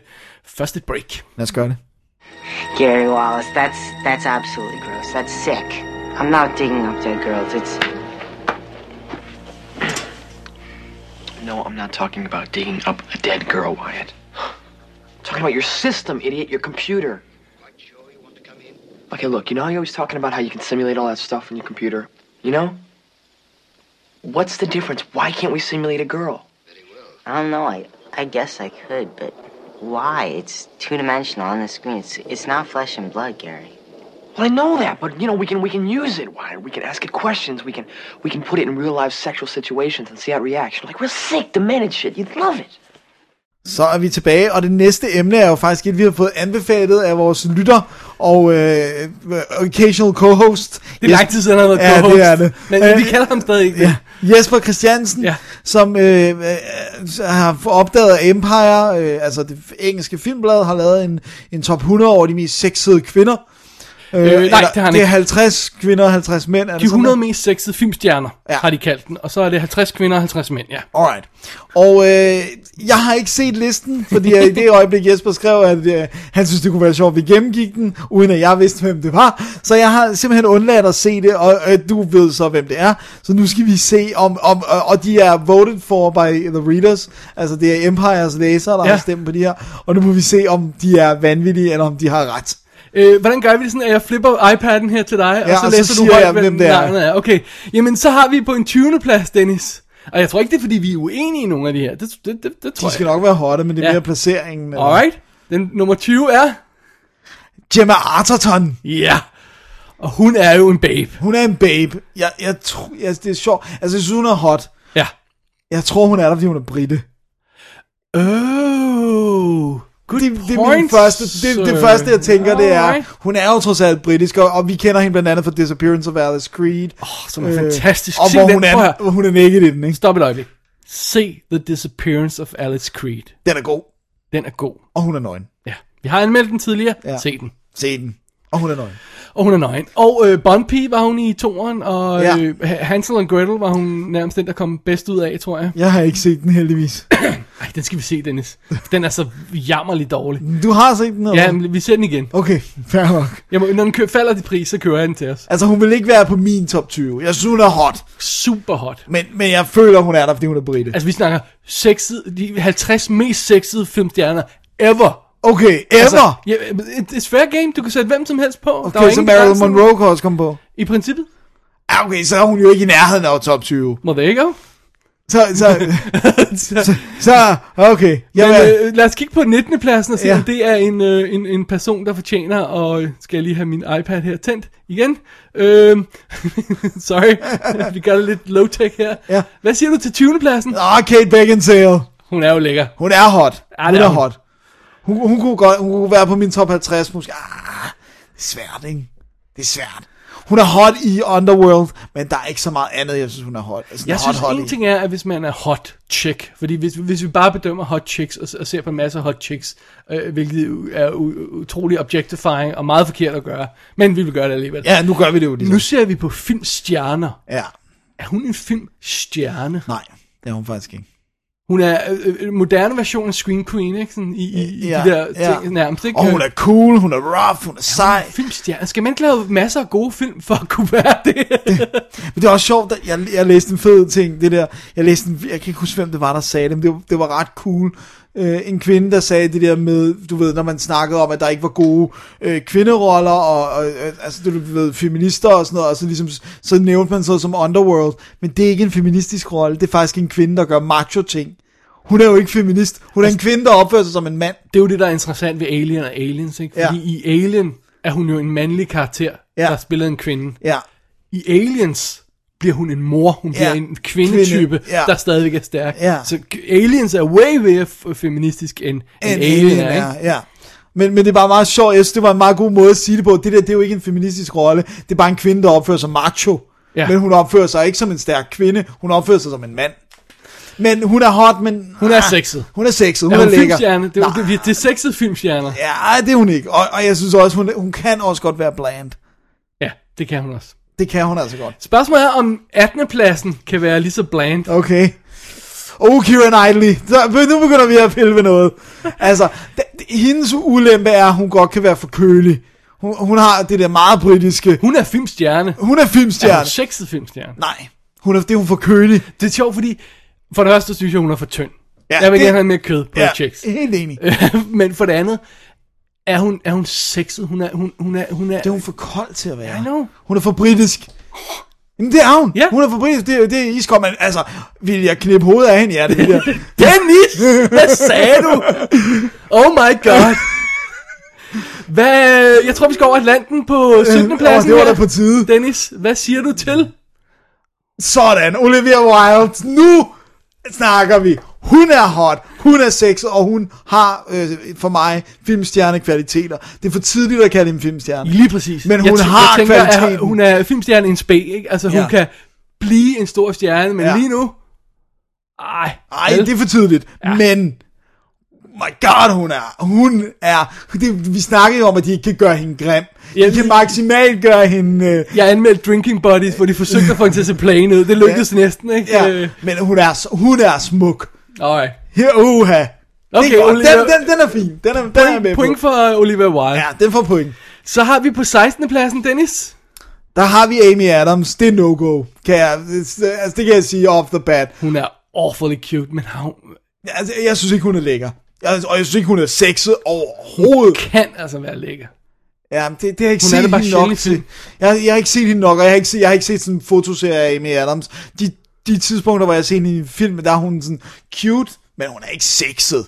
S3: først et break.
S4: Lad os gøre det.
S7: Gary Wallace, that's that's absolutely gross. That's sick. I'm not digging up dead girls. It's
S8: No, I'm not talking about digging up a dead girl, Wyatt. talking about your system, idiot, your computer. Okay, look, you know how you're always talking about how you can simulate all that stuff in your computer? You know? What's the difference? Why can't we simulate a girl?
S7: I don't know. I I guess I could, but why? It's two dimensional on the screen. It's it's not flesh and blood, Gary.
S8: Well, I know that, but you know, we can we can use it, Wyatt. We can ask it questions, we can we can put it in real life sexual situations and see how it reacts. You're like, real sick, demented shit. You'd love it.
S4: Så er vi tilbage, og det næste emne er jo faktisk et, vi har fået anbefalet af vores lytter og øh, occasional co-host.
S3: Det er lang tid siden, han har været
S4: Ja,
S3: co-host,
S4: det er det.
S3: men
S4: Øh,
S3: vi kalder ham stadig ikke det.
S4: Ja. Jesper Christiansen, ja.
S3: Ja.
S4: som øh, øh, har opdaget Empire, øh, altså det engelske filmblad, har lavet en, en top 100 over de mest sexede kvinder. Øh,
S3: nej,
S4: eller
S3: det har han
S4: det er
S3: ikke.
S4: 50 kvinder og 50 mænd. Er
S3: De 100 mest sexede filmstjerner,
S4: Ja.
S3: ja. har de kaldt den, og så er det 50 kvinder og 50 mænd, ja.
S4: Alright. Og øh, jeg har ikke set listen, fordi jeg, i det øjeblik Jesper skrev, at øh, han synes, det kunne være sjovt, at vi gennemgik den, uden at jeg vidste, hvem det var. Så jeg har simpelthen undladt at se det, og øh, du ved så, hvem det er. Så nu skal vi se om, om og, og de er voted for by the readers, altså det er Empires læsere, der ja.
S3: Ja.
S4: har stemt på de her. Og nu må vi se, om de er vanvittige, eller om de har ret.
S3: Øh, hvordan gør vi det sådan, at jeg flipper iPad'en her til dig,
S4: Ja,
S3: og så
S4: og så
S3: læser du
S4: siger
S3: højt,
S4: jeg, hvem det er.
S3: navnet er? Okay, jamen så har vi på en 20. plads, Dennis. Og jeg tror ikke, det er, fordi vi er uenige i nogle af de her. Det, det, det, det tror
S4: De skal
S3: jeg.
S4: nok være hotte, men det er
S3: Ja.
S4: mere placeringen. eller-
S3: Alright. Den nummer 20 er...
S4: Gemma Arterton.
S3: Ja. Og hun er jo en babe.
S4: Hun er en babe. Jeg, jeg tror, jeg, det er sjovt. Altså, jeg synes, hun er hot.
S3: Ja.
S4: Jeg tror, hun er der, fordi hun er brite.
S3: Oh. Good
S4: Det,
S3: point,
S4: det, er min første, det, det
S3: sir.
S4: første, jeg tænker, det er,
S3: Alright.
S4: hun er jo trods alt britisk, og, og vi kender hende blandt andet for Disappearance of Alice Creed. Øh,
S3: Oh, som er fantastisk.
S4: Og hvor
S3: Simpelthen,
S4: hun
S3: prøv at
S4: er,
S3: høre.
S4: hvor hun er naked i den, ikke?
S3: Stop et øjeblik. Se The Disappearance of Alice Creed.
S4: Den er god,
S3: Den er god.
S4: og hun er nøgen.
S3: Ja. Vi har anmeldt den tidligere.
S4: Ja.
S3: Ja. Se den.
S4: Se den. Og hun er nøgen.
S3: Og hun er nøgen. Og øh, Bumpy var hun i toren, og
S4: Ja.
S3: ja. øh, Ha- Hansel og Gretel var hun nærmest den, der kom bedst ud af, tror jeg.
S4: Jeg har ikke set den heldigvis.
S3: Ej, den skal vi se, Dennis. Den er så jammerligt dårlig.
S4: Du har set den? Eller?
S3: Ja, men vi ser den igen.
S4: Okay, fair nok.
S3: Jeg må, når den kø- falder i pris, så kører jeg den til os.
S4: Altså, hun vil ikke være på min top 20. Jeg synes, hun er hot.
S3: Super hot.
S4: Men, men jeg føler, hun er der, fordi hun er brite.
S3: Altså, vi snakker sexede, de 50 mest sexede filmstjerner ever.
S4: Okay, ever!
S3: Altså, ja, it- it's fair game. Du kan sætte hvem som helst på. Der er
S4: okay, så
S3: ingen
S4: Marilyn
S3: begrænsning.
S4: Monroe kan også komme på.
S3: I princippet.
S4: Ja, okay, så er hun jo ikke i nærheden af top 20.
S3: Må det ikke jo?
S4: Så, så, så, så okay. Jeg,
S3: Men
S4: vil,
S3: øh, lad os kigge på 19. pladsen og se,
S4: Ja.
S3: ja. om det er en, øh, en, en person, der fortjener, og øh, skal jeg lige have min iPad her tændt igen? Øh, sorry, vi gør det lidt low-tech her.
S4: Ja.
S3: Hvad siger du til 20. pladsen?
S4: Åh, Kate Beckinsale.
S3: Hun er jo lækker.
S4: Hun er hot.
S3: øh, Ja,
S4: hun
S3: det
S4: er,
S3: er hun.
S4: hot. Hun, hun, kunne godt, hun kunne være på min top 50, måske. Ah, det er svært, ikke? Det er svært. Hun er hot i Underworld, men der er ikke så meget andet, jeg synes, hun er hot. Altså,
S3: Jeg
S4: hot,
S3: synes,
S4: hot
S3: en
S4: i.
S3: ting er, at hvis man er hot chick, fordi hvis, hvis vi bare bedømmer hot chicks og, og ser på en masse hot chicks, øh, hvilket er u- utrolig objectifying og meget forkert at gøre, men vi vil gøre det alligevel.
S4: Ja, nu gør vi det jo
S3: Nu
S4: ligesom.
S3: ser vi på filmstjerner.
S4: Ja,
S3: Er hun en filmstjerne?
S4: nej, det er hun faktisk ikke.
S3: Hun er øh, øh, moderne version af Scream Queen, ikke? Sådan i, i,
S4: Ja,
S3: i de der
S4: ja.
S3: ting nærmest, ikke? Øh,
S4: Og hun er cool, hun er rough, hun er sej.
S3: Filmstjerne. Skal man ikke lave masser af gode film for at kunne være det?
S4: Men det er også sjovt, at jeg, jeg læste en fed ting, det der, jeg læste en, jeg kan ikke huske, hvem det var, der sagde det, men det, var- det var ret cool. Øh, en kvinde, der sagde det der med, du ved, når man snakkede om, at der ikke var gode øh, kvinderoller, og, og øh, altså, du ved, feminister og sådan noget, og så, ligesom, så nævnte man sådan noget som Underworld, men det er ikke en feministisk rolle, det er faktisk en kvinde, der gør macho-ting. Hun er jo ikke feminist, hun er en kvinde, der opfører sig som en mand.
S3: det er jo det, der er interessant ved Alien og Aliens, ikke? Fordi i Alien er hun jo en mandlig karakter,
S4: Ja.
S3: der spiller en kvinde.
S4: Ja,
S3: I Aliens bliver hun en mor, hun bliver
S4: Ja.
S3: en kvindetype,
S4: Kvinde, ja.
S3: der stadigvæk er stærk.
S4: Ja.
S3: Så k- Aliens er way mere f- feministisk end, end Alien, er, ikke?
S4: ja. Men, men det er bare meget sjovt, jeg synes, det var en meget god måde at sige det på. Det der, det er jo ikke en feministisk rolle, det er bare en kvinde, der opfører sig macho. Ja.
S3: Ja.
S4: Men hun opfører sig ikke som en stærk kvinde, hun opfører sig som en mand. Men hun er hot, men...
S3: Hun er
S4: ah,
S3: sexet.
S4: Hun er sexet, hun
S3: Er
S4: er,
S3: hun
S4: lækker.
S3: filmstjerne? Det er,
S4: Nej.
S3: det, det, det er sexet filmstjerner.
S4: Ja, ej, det er hun ikke. Og, og jeg synes også, hun, hun kan også godt være bland.
S3: Ja, det kan hun også.
S4: Det kan hun altså godt.
S3: Spørgsmålet er, om 18. pladsen kan være lige så bland.
S4: Okay. Oh, Kira Knightley. Så, nu begynder vi at pille ved noget. Altså, det, det, hendes ulempe er, at hun godt kan være for kølig. Hun, hun har det der meget britiske...
S3: Hun er filmstjerne.
S4: Hun er
S3: Er hun
S4: filmstjerne.
S3: sexet filmstjerne?
S4: Nej, hun er, det er hun for kølig.
S3: Det er sjovt, fordi for det første synes jeg, hun er for tynd.
S4: Ja,
S3: Ja, jeg vil
S4: det-
S3: gerne have mere kød på ja. chicks. Øh.
S4: helt enig.
S3: Men for det andet, er hun, er hun sexet? Hun er, hun, hun er, hun er,
S4: Det er hun for kold til at være.
S3: I know.
S4: Hun er for britisk. Jamen, det er hun.
S3: Ja.
S4: Hun er for britisk. Det, er- det er iskold, men altså, vil jeg knippe hovedet af hende? Ja, det vil jeg.
S3: Dennis, hvad sagde du? Oh my god. Hvad, jeg tror, vi skal over Atlanten på 17. pladsen
S4: det var
S3: her.
S4: da på tide.
S3: Dennis, hvad siger du til?
S4: Sådan, Olivia Wilde. Nu snakker vi. Hun er hot, hun er sexet, og hun har øh, for mig filmstjernekvaliteter. Det er for tidligt at kalde hende filmstjerne.
S3: Lige præcis.
S4: Men hun
S3: tæ-
S4: har
S3: jeg tænker, at
S4: kvaliteten.
S3: hun er filmstjerne en spæ, ikke? Altså, hun
S4: Ja.
S3: kan blive en stor stjerne, men
S4: Ja.
S3: ja. lige nu... Ej,
S4: Ej,
S3: vel?
S4: det er for tidligt. Ja. Men, my god, hun er. Hun er. Det, vi snakkede jo om, at de ikke kan gøre hende grim. Ja,
S3: Ja,
S4: de kan
S3: vi-
S4: maksimalt gøre hende... Øh,
S3: Jeg anmeldte Drinking Buddies, hvor de forsøgte at få hende til at se plain ud. Det lykkedes ja. næsten, ikke? Øh,
S4: ja, men hun er, så- hun er smuk.
S3: Alright.
S4: Her, uha. Okay,
S3: Okay,
S4: det er godt.
S3: Olivia-
S4: Den, den, den er fin. Den er, den er jeg
S3: Point,
S4: med
S3: point
S4: på.
S3: for øh, Olivia Wilde. Ja.
S4: Ja, den får point.
S3: Så har vi på 16. pladsen, Dennis.
S4: Der har vi Amy Adams. Det er no-go. Kan jeg, altså, det kan jeg sige off the bat.
S3: Hun er awfully cute, men har hun
S4: Altså, jeg synes ikke, hun er lækker. Jeg, og jeg synes ikke, hun er sexet overhovedet.
S3: kan altså være lækker.
S4: Ja, men det, det har jeg ikke
S3: Hun
S4: set
S3: er det bare
S4: hende nok
S3: sjældent
S4: til.
S3: til.
S4: Jeg, jeg har ikke set hende nok, og jeg har ikke set, jeg har ikke set sådan en fotoserie af Amy Adams. De, de tidspunkter, hvor jeg har set hende i film, der er hun sådan cute, men hun er ikke sexet.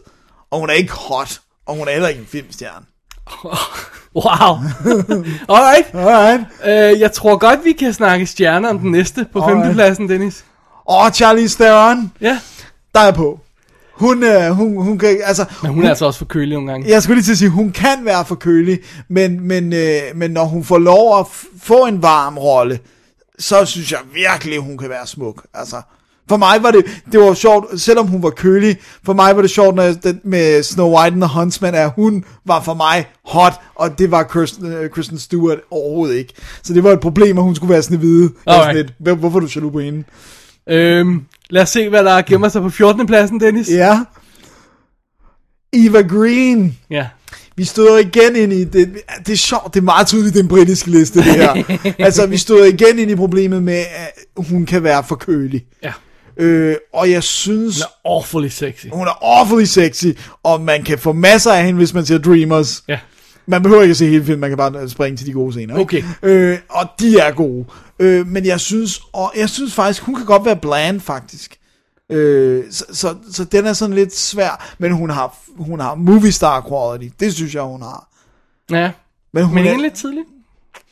S4: Og hun er ikke hot. Og hun er heller ikke en filmstjerne.
S3: Wow. Alright.
S4: Alright.
S3: Uh, jeg tror godt, vi kan snakke stjerner om den næste på
S4: Alright.
S3: 5. pladsen, Dennis.
S4: Og Charlize Theron,
S3: Ja.
S4: der er på. Hun, øh, hun, hun kan, altså,
S3: Men hun er altså også for kølig nogle gange.
S4: jeg skulle lige til at sige, hun kan være for kølig, men, men, øh, men når hun får lov at f- få en varm rolle, så synes jeg virkelig, hun kan være smuk. Altså, For mig var det, det var sjovt, selvom hun var kølig, for mig var det sjovt, når jeg- den med Snow White and the Huntsman, at hun var for mig hot, og det var Kristen, øh, Kristen Stewart overhovedet ikke. Så det var et problem, at hun skulle være sådan hvide.
S3: Alright.
S4: Sådan lidt, "Hvor- hvorfor er du jaloux på hende?
S3: Øhm, lad os se, hvad der gemmer sig på 14. pladsen, Dennis.
S4: Ja. Eva Green.
S3: Ja.
S4: Vi støder igen ind i det. Det er sjovt, det er meget tydeligt, det er en britisk liste, det her. altså, vi støder igen ind i problemet med, at hun kan være for kølig.
S3: Ja.
S4: Øh, og jeg synes,
S3: Hun er awfully sexy.
S4: hun er awfully sexy, og man kan få masser af hende, hvis man ser Dreamers.
S3: Ja.
S4: Man behøver ikke at se hele filmen, man kan bare springe til de gode scener.
S3: Okay.
S4: Ikke? Øh, og de er gode. Øh, men jeg synes, og jeg synes faktisk, hun kan godt være bland, faktisk. Øh, så, så, så den er sådan lidt svær, men hun har, hun har movie star quality. Det synes jeg, hun har.
S3: Ja.
S4: hun
S3: Men
S4: er-
S3: egentlig tidligt.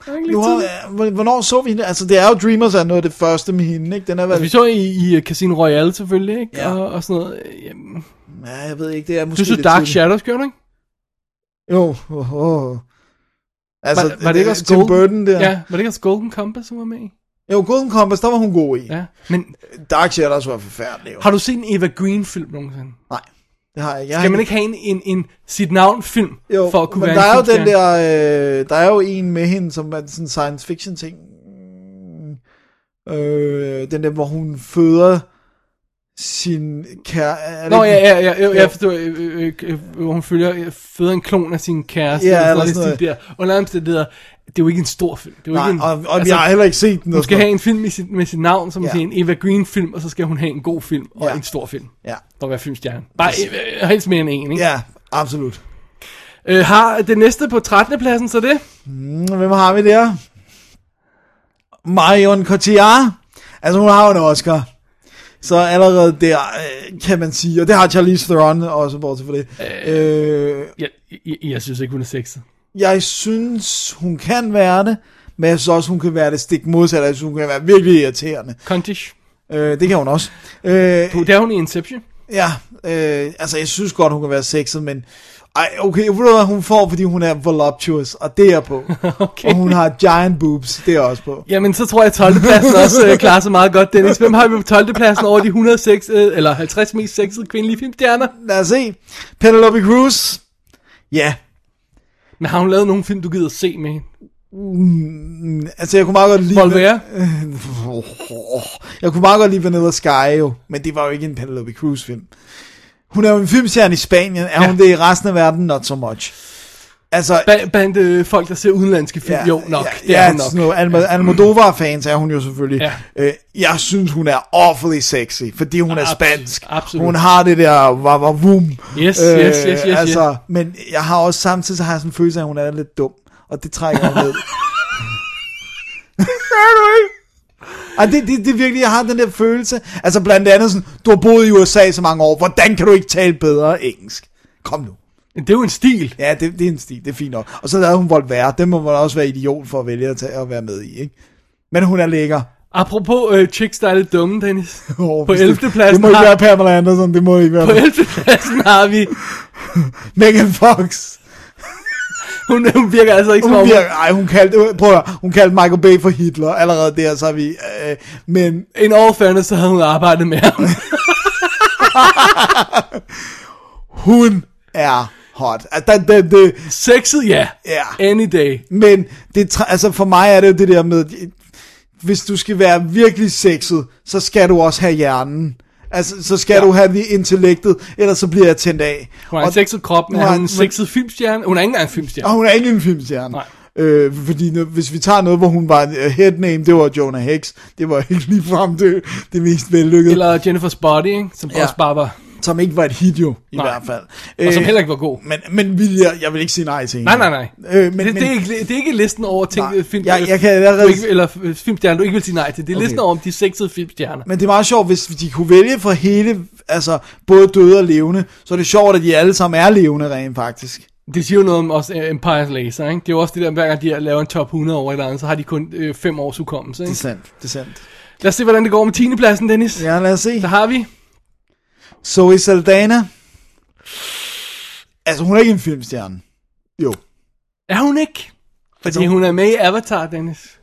S3: Er det ikke
S4: Nu
S3: lidt tidligt?
S4: har, hvornår så vi hende? Altså, det er jo Dreamers er noget af det første med hende, ikke? Den er vel...
S3: Vi så i, i øh, Casino Royale selvfølgelig, ikke?
S4: Ja.
S3: Og, og sådan noget. øh, Jamen,
S4: Ja, jeg ved ikke, det er måske
S3: Du så
S4: lidt
S3: Dark
S4: tidligt.
S3: Shadows, gjorde du ikke?
S4: Jo, oh, oh. Altså,
S3: var, var det ikke også
S4: Tim
S3: Golden?
S4: Burton der?
S3: Ja, var det ikke også Golden Compass, hun var med i?
S4: Jo, Golden Compass, der var hun god i. Ja.
S3: Ja. Men
S4: Dark Shadows var forfærdelig. Jo.
S3: har du set en Eva Green-film nogensinde?
S4: Nej, det har jeg ikke. Jeg har
S3: Kan man ikke have en, en, en sit navn-film
S4: Jo,
S3: for at kunne
S4: men
S3: være
S4: der
S3: en
S4: er jo den
S3: filmstjerne?
S4: der, øh, der er jo en med hende, som er sådan en science fiction ting. Øh, den der, hvor hun føder sin kære... er det
S3: Nå, ja,
S4: ikke-
S3: ja, ja, ja,
S4: Jo.
S3: jeg forstår, øh, øh, øh, hvor hun følger, øh, føder en klon af sin kæreste.
S4: Ja,
S3: og
S4: eller
S3: det
S4: sådan noget.
S3: Der. Under omstændigheder, det er jo ikke en stor film. Det er jo
S4: Nej,
S3: ikke en,
S4: og, og altså, jeg har heller ikke set den.
S3: hun
S4: og
S3: skal
S4: sådan
S3: have en film med sit, med sit navn, som
S4: Ja.
S3: ja. siger, en Eva Green-film, og så skal hun have en god film, og
S4: Ja.
S3: en stor film,
S4: noget. Ja,
S3: for at være filmstjerne. Bare øh, helst mere end en, ikke?
S4: ja, absolut.
S3: Øh, har det næste på 13. pladsen, så det?
S4: Mm, Hvem har vi der? Marion Cotillard. Altså, hun har jo en Oscar. Så allerede der, øh, kan man sige. Og det har Charlize Theron også, bortset for det. Øh,
S3: Jeg, jeg, jeg synes ikke, hun er sexet.
S4: jeg synes, hun kan være det. Men jeg synes også, hun kan være det stik modsatte. Jeg synes, hun kan være virkelig irriterende.
S3: Contish.
S4: Øh, det kan hun også. Øh,
S3: Det er hun i Inception.
S4: ja, øh, altså, jeg synes godt, hun kan være sexet, men... Ej, okay, ved du hvad hun får, fordi hun er voluptuous, og det er på.
S3: Okay.
S4: Og hun har giant boobs, det er også på.
S3: Jamen, så tror jeg, at 12. pladsen også øh, klarer sig meget godt, Dennis. Hvem har vi på 12. pladsen over de 106, øh, eller 50 mest sexede kvindelige filmstjerner?
S4: Lad os se. Penelope Cruz. Ja,
S3: Men har hun lavet nogle film, du gider se med hende?
S4: altså jeg kunne meget godt lide...
S3: Volvere?
S4: Jeg kunne meget godt lide Vanilla Sky jo, men det var jo ikke en Penelope Cruz film. Hun er jo en filmstjerne i Spanien. Er ja. hun det i resten af verden? Not so much. Altså...
S3: Ba- blandt øh, folk, der ser udenlandske film? jo, nok.
S4: Ja,
S3: det
S4: ja,
S3: er hun nok.
S4: sådan noget. Alma, Almodovar-fans er hun jo selvfølgelig.
S3: Ja.
S4: Øh, jeg synes, hun er awfully sexy, fordi hun er
S3: Absolut,
S4: spansk.
S3: absolut.
S4: Hun har det der vavavum.
S3: Yes, yes, yes, yes,
S4: altså, yes. Men jeg har også samtidig så har jeg sådan en følelse af, at hun er lidt dum, og det trækker jeg ned. er du ikke? Ej, det, det, det er virkelig, jeg har den der følelse. Altså blandt andet sådan, du har boet i USA så mange år, hvordan kan du ikke tale bedre engelsk? Kom nu.
S3: Det er jo en stil.
S4: Ja, det, det er en stil, det er fint nok. Og så lavede hun Volvere, den må man også være idiot for at vælge at, tage, at være med i, ikke? Men hun er lækker.
S3: Apropos øh, chicks, der er lidt dumme, Dennis.
S4: Oh,
S3: På 11. pladsen
S4: Det må ikke
S3: har-
S4: være Pamela Anderson, det må ikke være
S3: På 11. pladsen har vi...
S4: Megan Fox.
S3: Hun, hun virker altså ikke som
S4: Hun
S3: om...
S4: virker, ej, hun kaldte, øh, prøv at høre, hun kaldte Michael Bay for Hitler. Allerede der, så er vi, øh, men
S3: In all fairness, så havde hun arbejdet med ham.
S4: hun er hot. Altså, det, det, det,
S3: Sexet, ja.
S4: Ja.
S3: Any day.
S4: Men det, tr- altså for mig er det jo det der med, hvis du skal være virkelig sexet, så skal du også have hjernen. Altså, så skal ja. du have det intellektet, ellers så bliver jeg tændt af.
S3: Hun har en sexet krop, men
S4: Hun
S3: hun
S4: har-
S3: er en sexet filmstjerne. Hun er ikke engang en filmstjerne.
S4: Og hun er ikke en filmstjerne.
S3: Nej.
S4: Øh, fordi nu- hvis vi tager noget, hvor hun var en øh, headname, det var Jonah Hex. Det var ikke ligefrem det, det mest vellykkede. Eller...
S3: Øh. Eller Jennifer's Body, ikke? som
S4: Ja.
S3: ja. også bare var,
S4: Som ikke var et hit jo, i
S3: Nej.
S4: hvert fald.
S3: og
S4: Øh.
S3: som heller ikke var god.
S4: Men, men vil jeg, jeg vil ikke sige nej til hende.
S3: Nej, nej, nej.
S4: Øh, men,
S3: Men, det, det, er ikke, det er ikke listen over ting,
S4: Nej.
S3: nej, film,
S4: Jeg- jeg kan
S3: du
S4: allerede-
S3: ikke, eller øh, filmstjerner, du ikke vil sige nej til. Det er okay.
S4: Okay.
S3: listen over om de sexede filmstjerner.
S4: Men det er meget sjovt, hvis de kunne vælge fra hele, altså både døde og levende, så er det sjovt, at de alle sammen er levende rent faktisk.
S3: Det siger jo noget om også øh, Empire's Laser, ikke? Det er jo også det der, hver gang de laver en top 100 over et eller andet, så har de kun 5 fem års hukommelse,
S4: Det er
S3: ikke?
S4: sandt, det er sandt.
S3: Lad os se, hvordan det går med 10. pladsen, Dennis.
S4: Ja, lad os se.
S3: Der har vi.
S4: Zoe Saldana. Altså, hun er ikke en filmstjerne. Jo.
S3: Er hun ikke? Fordi hun er med i Avatar, Dennis.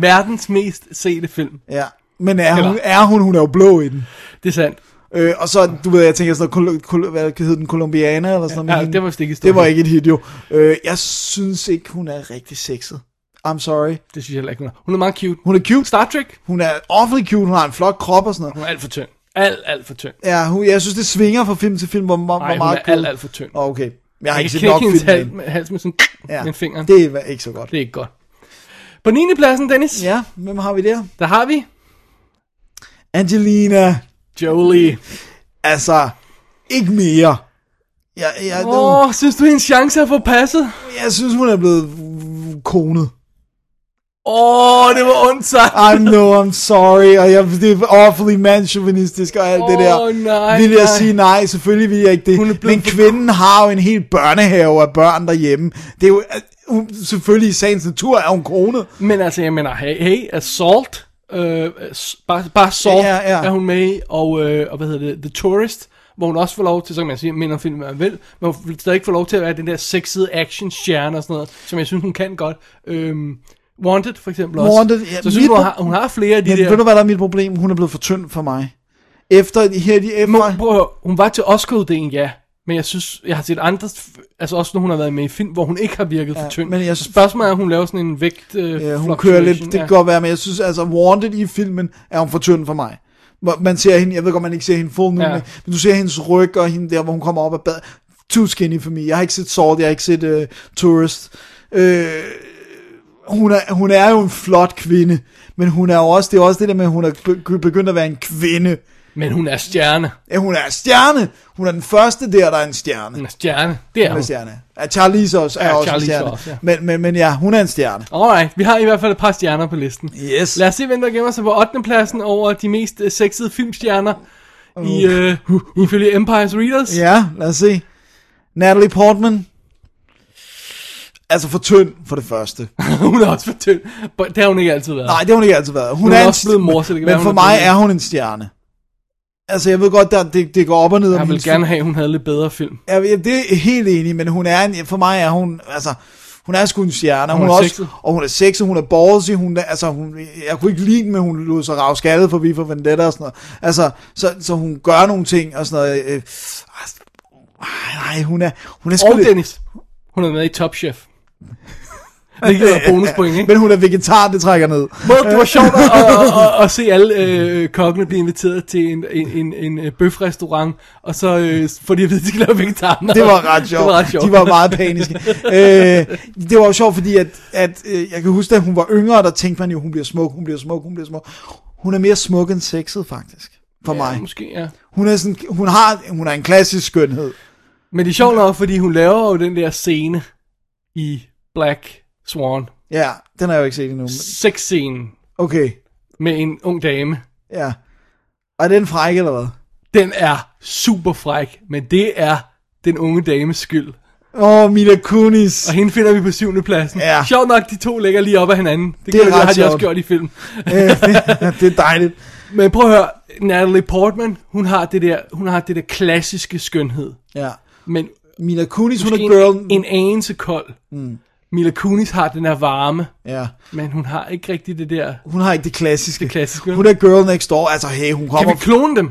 S3: Verdens mest sete film.
S4: Ja. Men er hun,
S3: Eller-
S4: er hun, hun er jo blå i den.
S3: Det er sandt.
S4: Øh, og så, du ved, jeg tænker sådan noget, Col- Col- hvad hed den, Colombiana eller sådan
S3: Ja,
S4: noget.
S3: det
S4: med
S3: var
S4: hende.
S3: vist ikke et
S4: det var ikke et hit, jo. Øh, jeg synes ikke, hun er rigtig sexet. I'm sorry.
S3: Det synes jeg heller ikke, hun er. Hun er meget cute.
S4: Hun er cute.
S3: Star Trek?
S4: Hun er awfully cute. Hun har en flot krop og sådan noget.
S3: Hun er alt for tynd. Alt, alt for tynd.
S4: Ja, hun, jeg synes, det svinger fra film til film, hvor,
S3: Nej,
S4: hvor, hvor
S3: hun
S4: meget
S3: er alt, alt for tynd.
S4: Nå, okay. Jeg har
S3: Jeg
S4: ikke
S3: kan
S4: set nok
S3: knække hendes
S4: film.
S3: hals
S4: men-
S3: med, hals med sådan
S4: Ja,
S3: ja. med fingeren. Det,
S4: det er ikke så godt.
S3: det er ikke godt. På 9. pladsen, Dennis,
S4: Ja, hvem har vi der?
S3: der har vi
S4: Angelina.
S3: Jolie.
S4: Altså, ikke mere. Jeg, jeg,
S3: Åh, oh, synes du, hendes chance er forpasset?
S4: jeg synes, hun er blevet konet.
S3: Åh, oh, det var ondt sagt.
S4: I know, I'm sorry, og jeg, det er awfully mandsjuvenistisk og alt det der.
S3: Åh, nej,
S4: Vil jeg
S3: nej.
S4: sige nej, selvfølgelig vil jeg ikke det.
S3: Hun er blevet
S4: Men
S3: for-
S4: kvinden har jo en hel børnehave af børn derhjemme. Det er jo, hun, selvfølgelig i sagens natur er hun konet.
S3: Men altså, jeg mener, hey, hey Assault. Øh, s- bare, bare Salt
S4: Ja, ja.
S3: er hun med i, og, øh, og hvad hedder det, The Tourist, hvor hun også får lov til, så kan man sige, minder om filmen, hvad man vil, men hun vil stadig få lov til at være den der sexede action-stjerne og sådan noget, som jeg synes, hun kan godt. Øhm, Wanted, for eksempel også.
S4: Wanted, ja,
S3: så jeg synes,
S4: mit-
S3: hun har, hun har flere af de
S4: Men
S3: der...
S4: ved du, hvad der er mit problem? Hun er blevet for tynd for mig. Efter de her... De,
S3: Må,
S4: efter,
S3: prøv at høre, hun var til Oscar-uddelen, ja. Men jeg synes, jeg har set andre, f- altså også når hun har været med i film, hvor hun ikke har virket ja, for tynd.
S4: men jeg synes-
S3: Spørgsmålet er, om hun laver sådan en vægt øh,
S4: Ja, hun kører
S3: fluctuation,
S4: lidt, det kan godt være, men jeg synes, altså, Wanted i filmen er hun for tynd for mig. Hvor Man ser hende, jeg ved godt, man ikke ser hende full nu,
S3: Ja.
S4: ja. men du ser hendes ryg og hende der, hvor hun kommer op af bad. Too skinny for me. Jeg har ikke set Salt, jeg har ikke set uh, Tourist. Øh, hun, er, hun er jo en flot kvinde, men hun er jo også, det er også det der med, at hun er be- begyndt at være en kvinde.
S3: Men hun er stjerne.
S4: Ja, hun er en stjerne. Hun er den første der, der er en stjerne.
S3: Hun er stjerne. Det er
S4: Hun er
S3: hun.
S4: stjerne. Ja, Charlize også er
S3: Mm. Ja,
S4: også
S3: Charlize
S4: en stjerne.
S3: også, ja.
S4: men, men, men ja, hun er en stjerne.
S3: Alright, vi har i hvert fald et par stjerner på listen.
S4: Yes.
S3: Lad os se, hvem der gemmer sig på 8. pladsen over de mest øh, sexede filmstjerner i, øh, ifølge Empire's Readers.
S4: Uh. Ja, lad os se. Natalie Portman. Altså for tynd, for det første.
S3: hun er også for tynd. But Det har hun ikke altid været.
S4: Nej, det har hun ikke altid været. Hun,
S3: er
S4: en
S3: også blevet mor, så det kan
S4: Men
S3: være, hun
S4: for
S3: er
S4: mig
S3: blevet-
S4: er hun en stjerne. Altså, jeg ved godt, der, det, det går op og ned. om
S3: jeg vil
S4: hendes-
S3: gerne have, at hun havde lidt bedre film.
S4: Jeg, jeg, det er helt enig, men hun er en, for mig er hun, altså, hun er sgu en stjerne.
S3: Hun
S4: Hun, hun
S3: er
S4: er også,
S3: sexet.
S4: og hun er sexet, hun er ballsy, hun, er- altså, hun, jeg kunne ikke lide den, men hun lod sig rave skaldet for vi for Vendetta og sådan noget. Altså, så, så hun gør nogle ting og sådan noget. Øh, altså, ej, nej, hun er, hun er sgu
S3: Og
S4: lidt-
S3: Dennis. Hun er med i Top Chef. Det giver bonuspoint, ikke?
S4: Men hun er vegetar, det trækker ned.
S3: Må- Det var sjovt at, at, at, at se alle øh, kokkene blive inviteret til en, en, en, en øh, bøfrestaurant, og så øh, får de at vide, at de skal lave vegetarmad.
S4: Det var ret sjovt.
S3: Det var ret sjovt.
S4: De var meget paniske. øh, det var jo sjovt, fordi at, at øh, jeg kan huske, da hun var yngre, der tænkte man jo, hun bliver smuk, hun bliver smuk, hun bliver smuk. Hun er mere smuk end sexet, faktisk. For mig.
S3: Måske, ja.
S4: Hun er, sådan, hun, har, hun er en klassisk skønhed.
S3: Men det er sjovt nok, fordi hun laver jo den der scene i Black Swan.
S4: Ja, den har jeg jo ikke set endnu. men-
S3: Sexscenen
S4: Okay,
S3: med en ung dame.
S4: ja. Og er den fræk, eller hvad?
S3: Den er super fræk, men det er den unge dames skyld.
S4: Åh, oh, Mila Kunis.
S3: Og hende finder vi på syvende pladsen.
S4: Ja.
S3: Sjovt nok, de to ligger lige op ad hinanden. Det,
S4: Det er
S3: det
S4: ret
S3: har de også
S4: sjovt.
S3: gjort i film.
S4: det er dejligt.
S3: Men prøv at høre, Natalie Portman, hun har det der, hun har det der klassiske skønhed.
S4: Ja.
S3: Men
S4: Mila Kunis, hun er
S3: måske
S4: girl.
S3: en, en anelse kold. Mm. Mila Kunis har den der varme,
S4: Ja.
S3: men hun har ikke rigtig det der...
S4: Hun har ikke det klassiske.
S3: Det klassiske, vel?
S4: Hun er girl next door. Altså, hey, hun
S3: Kan
S4: kommer
S3: vi klone dem?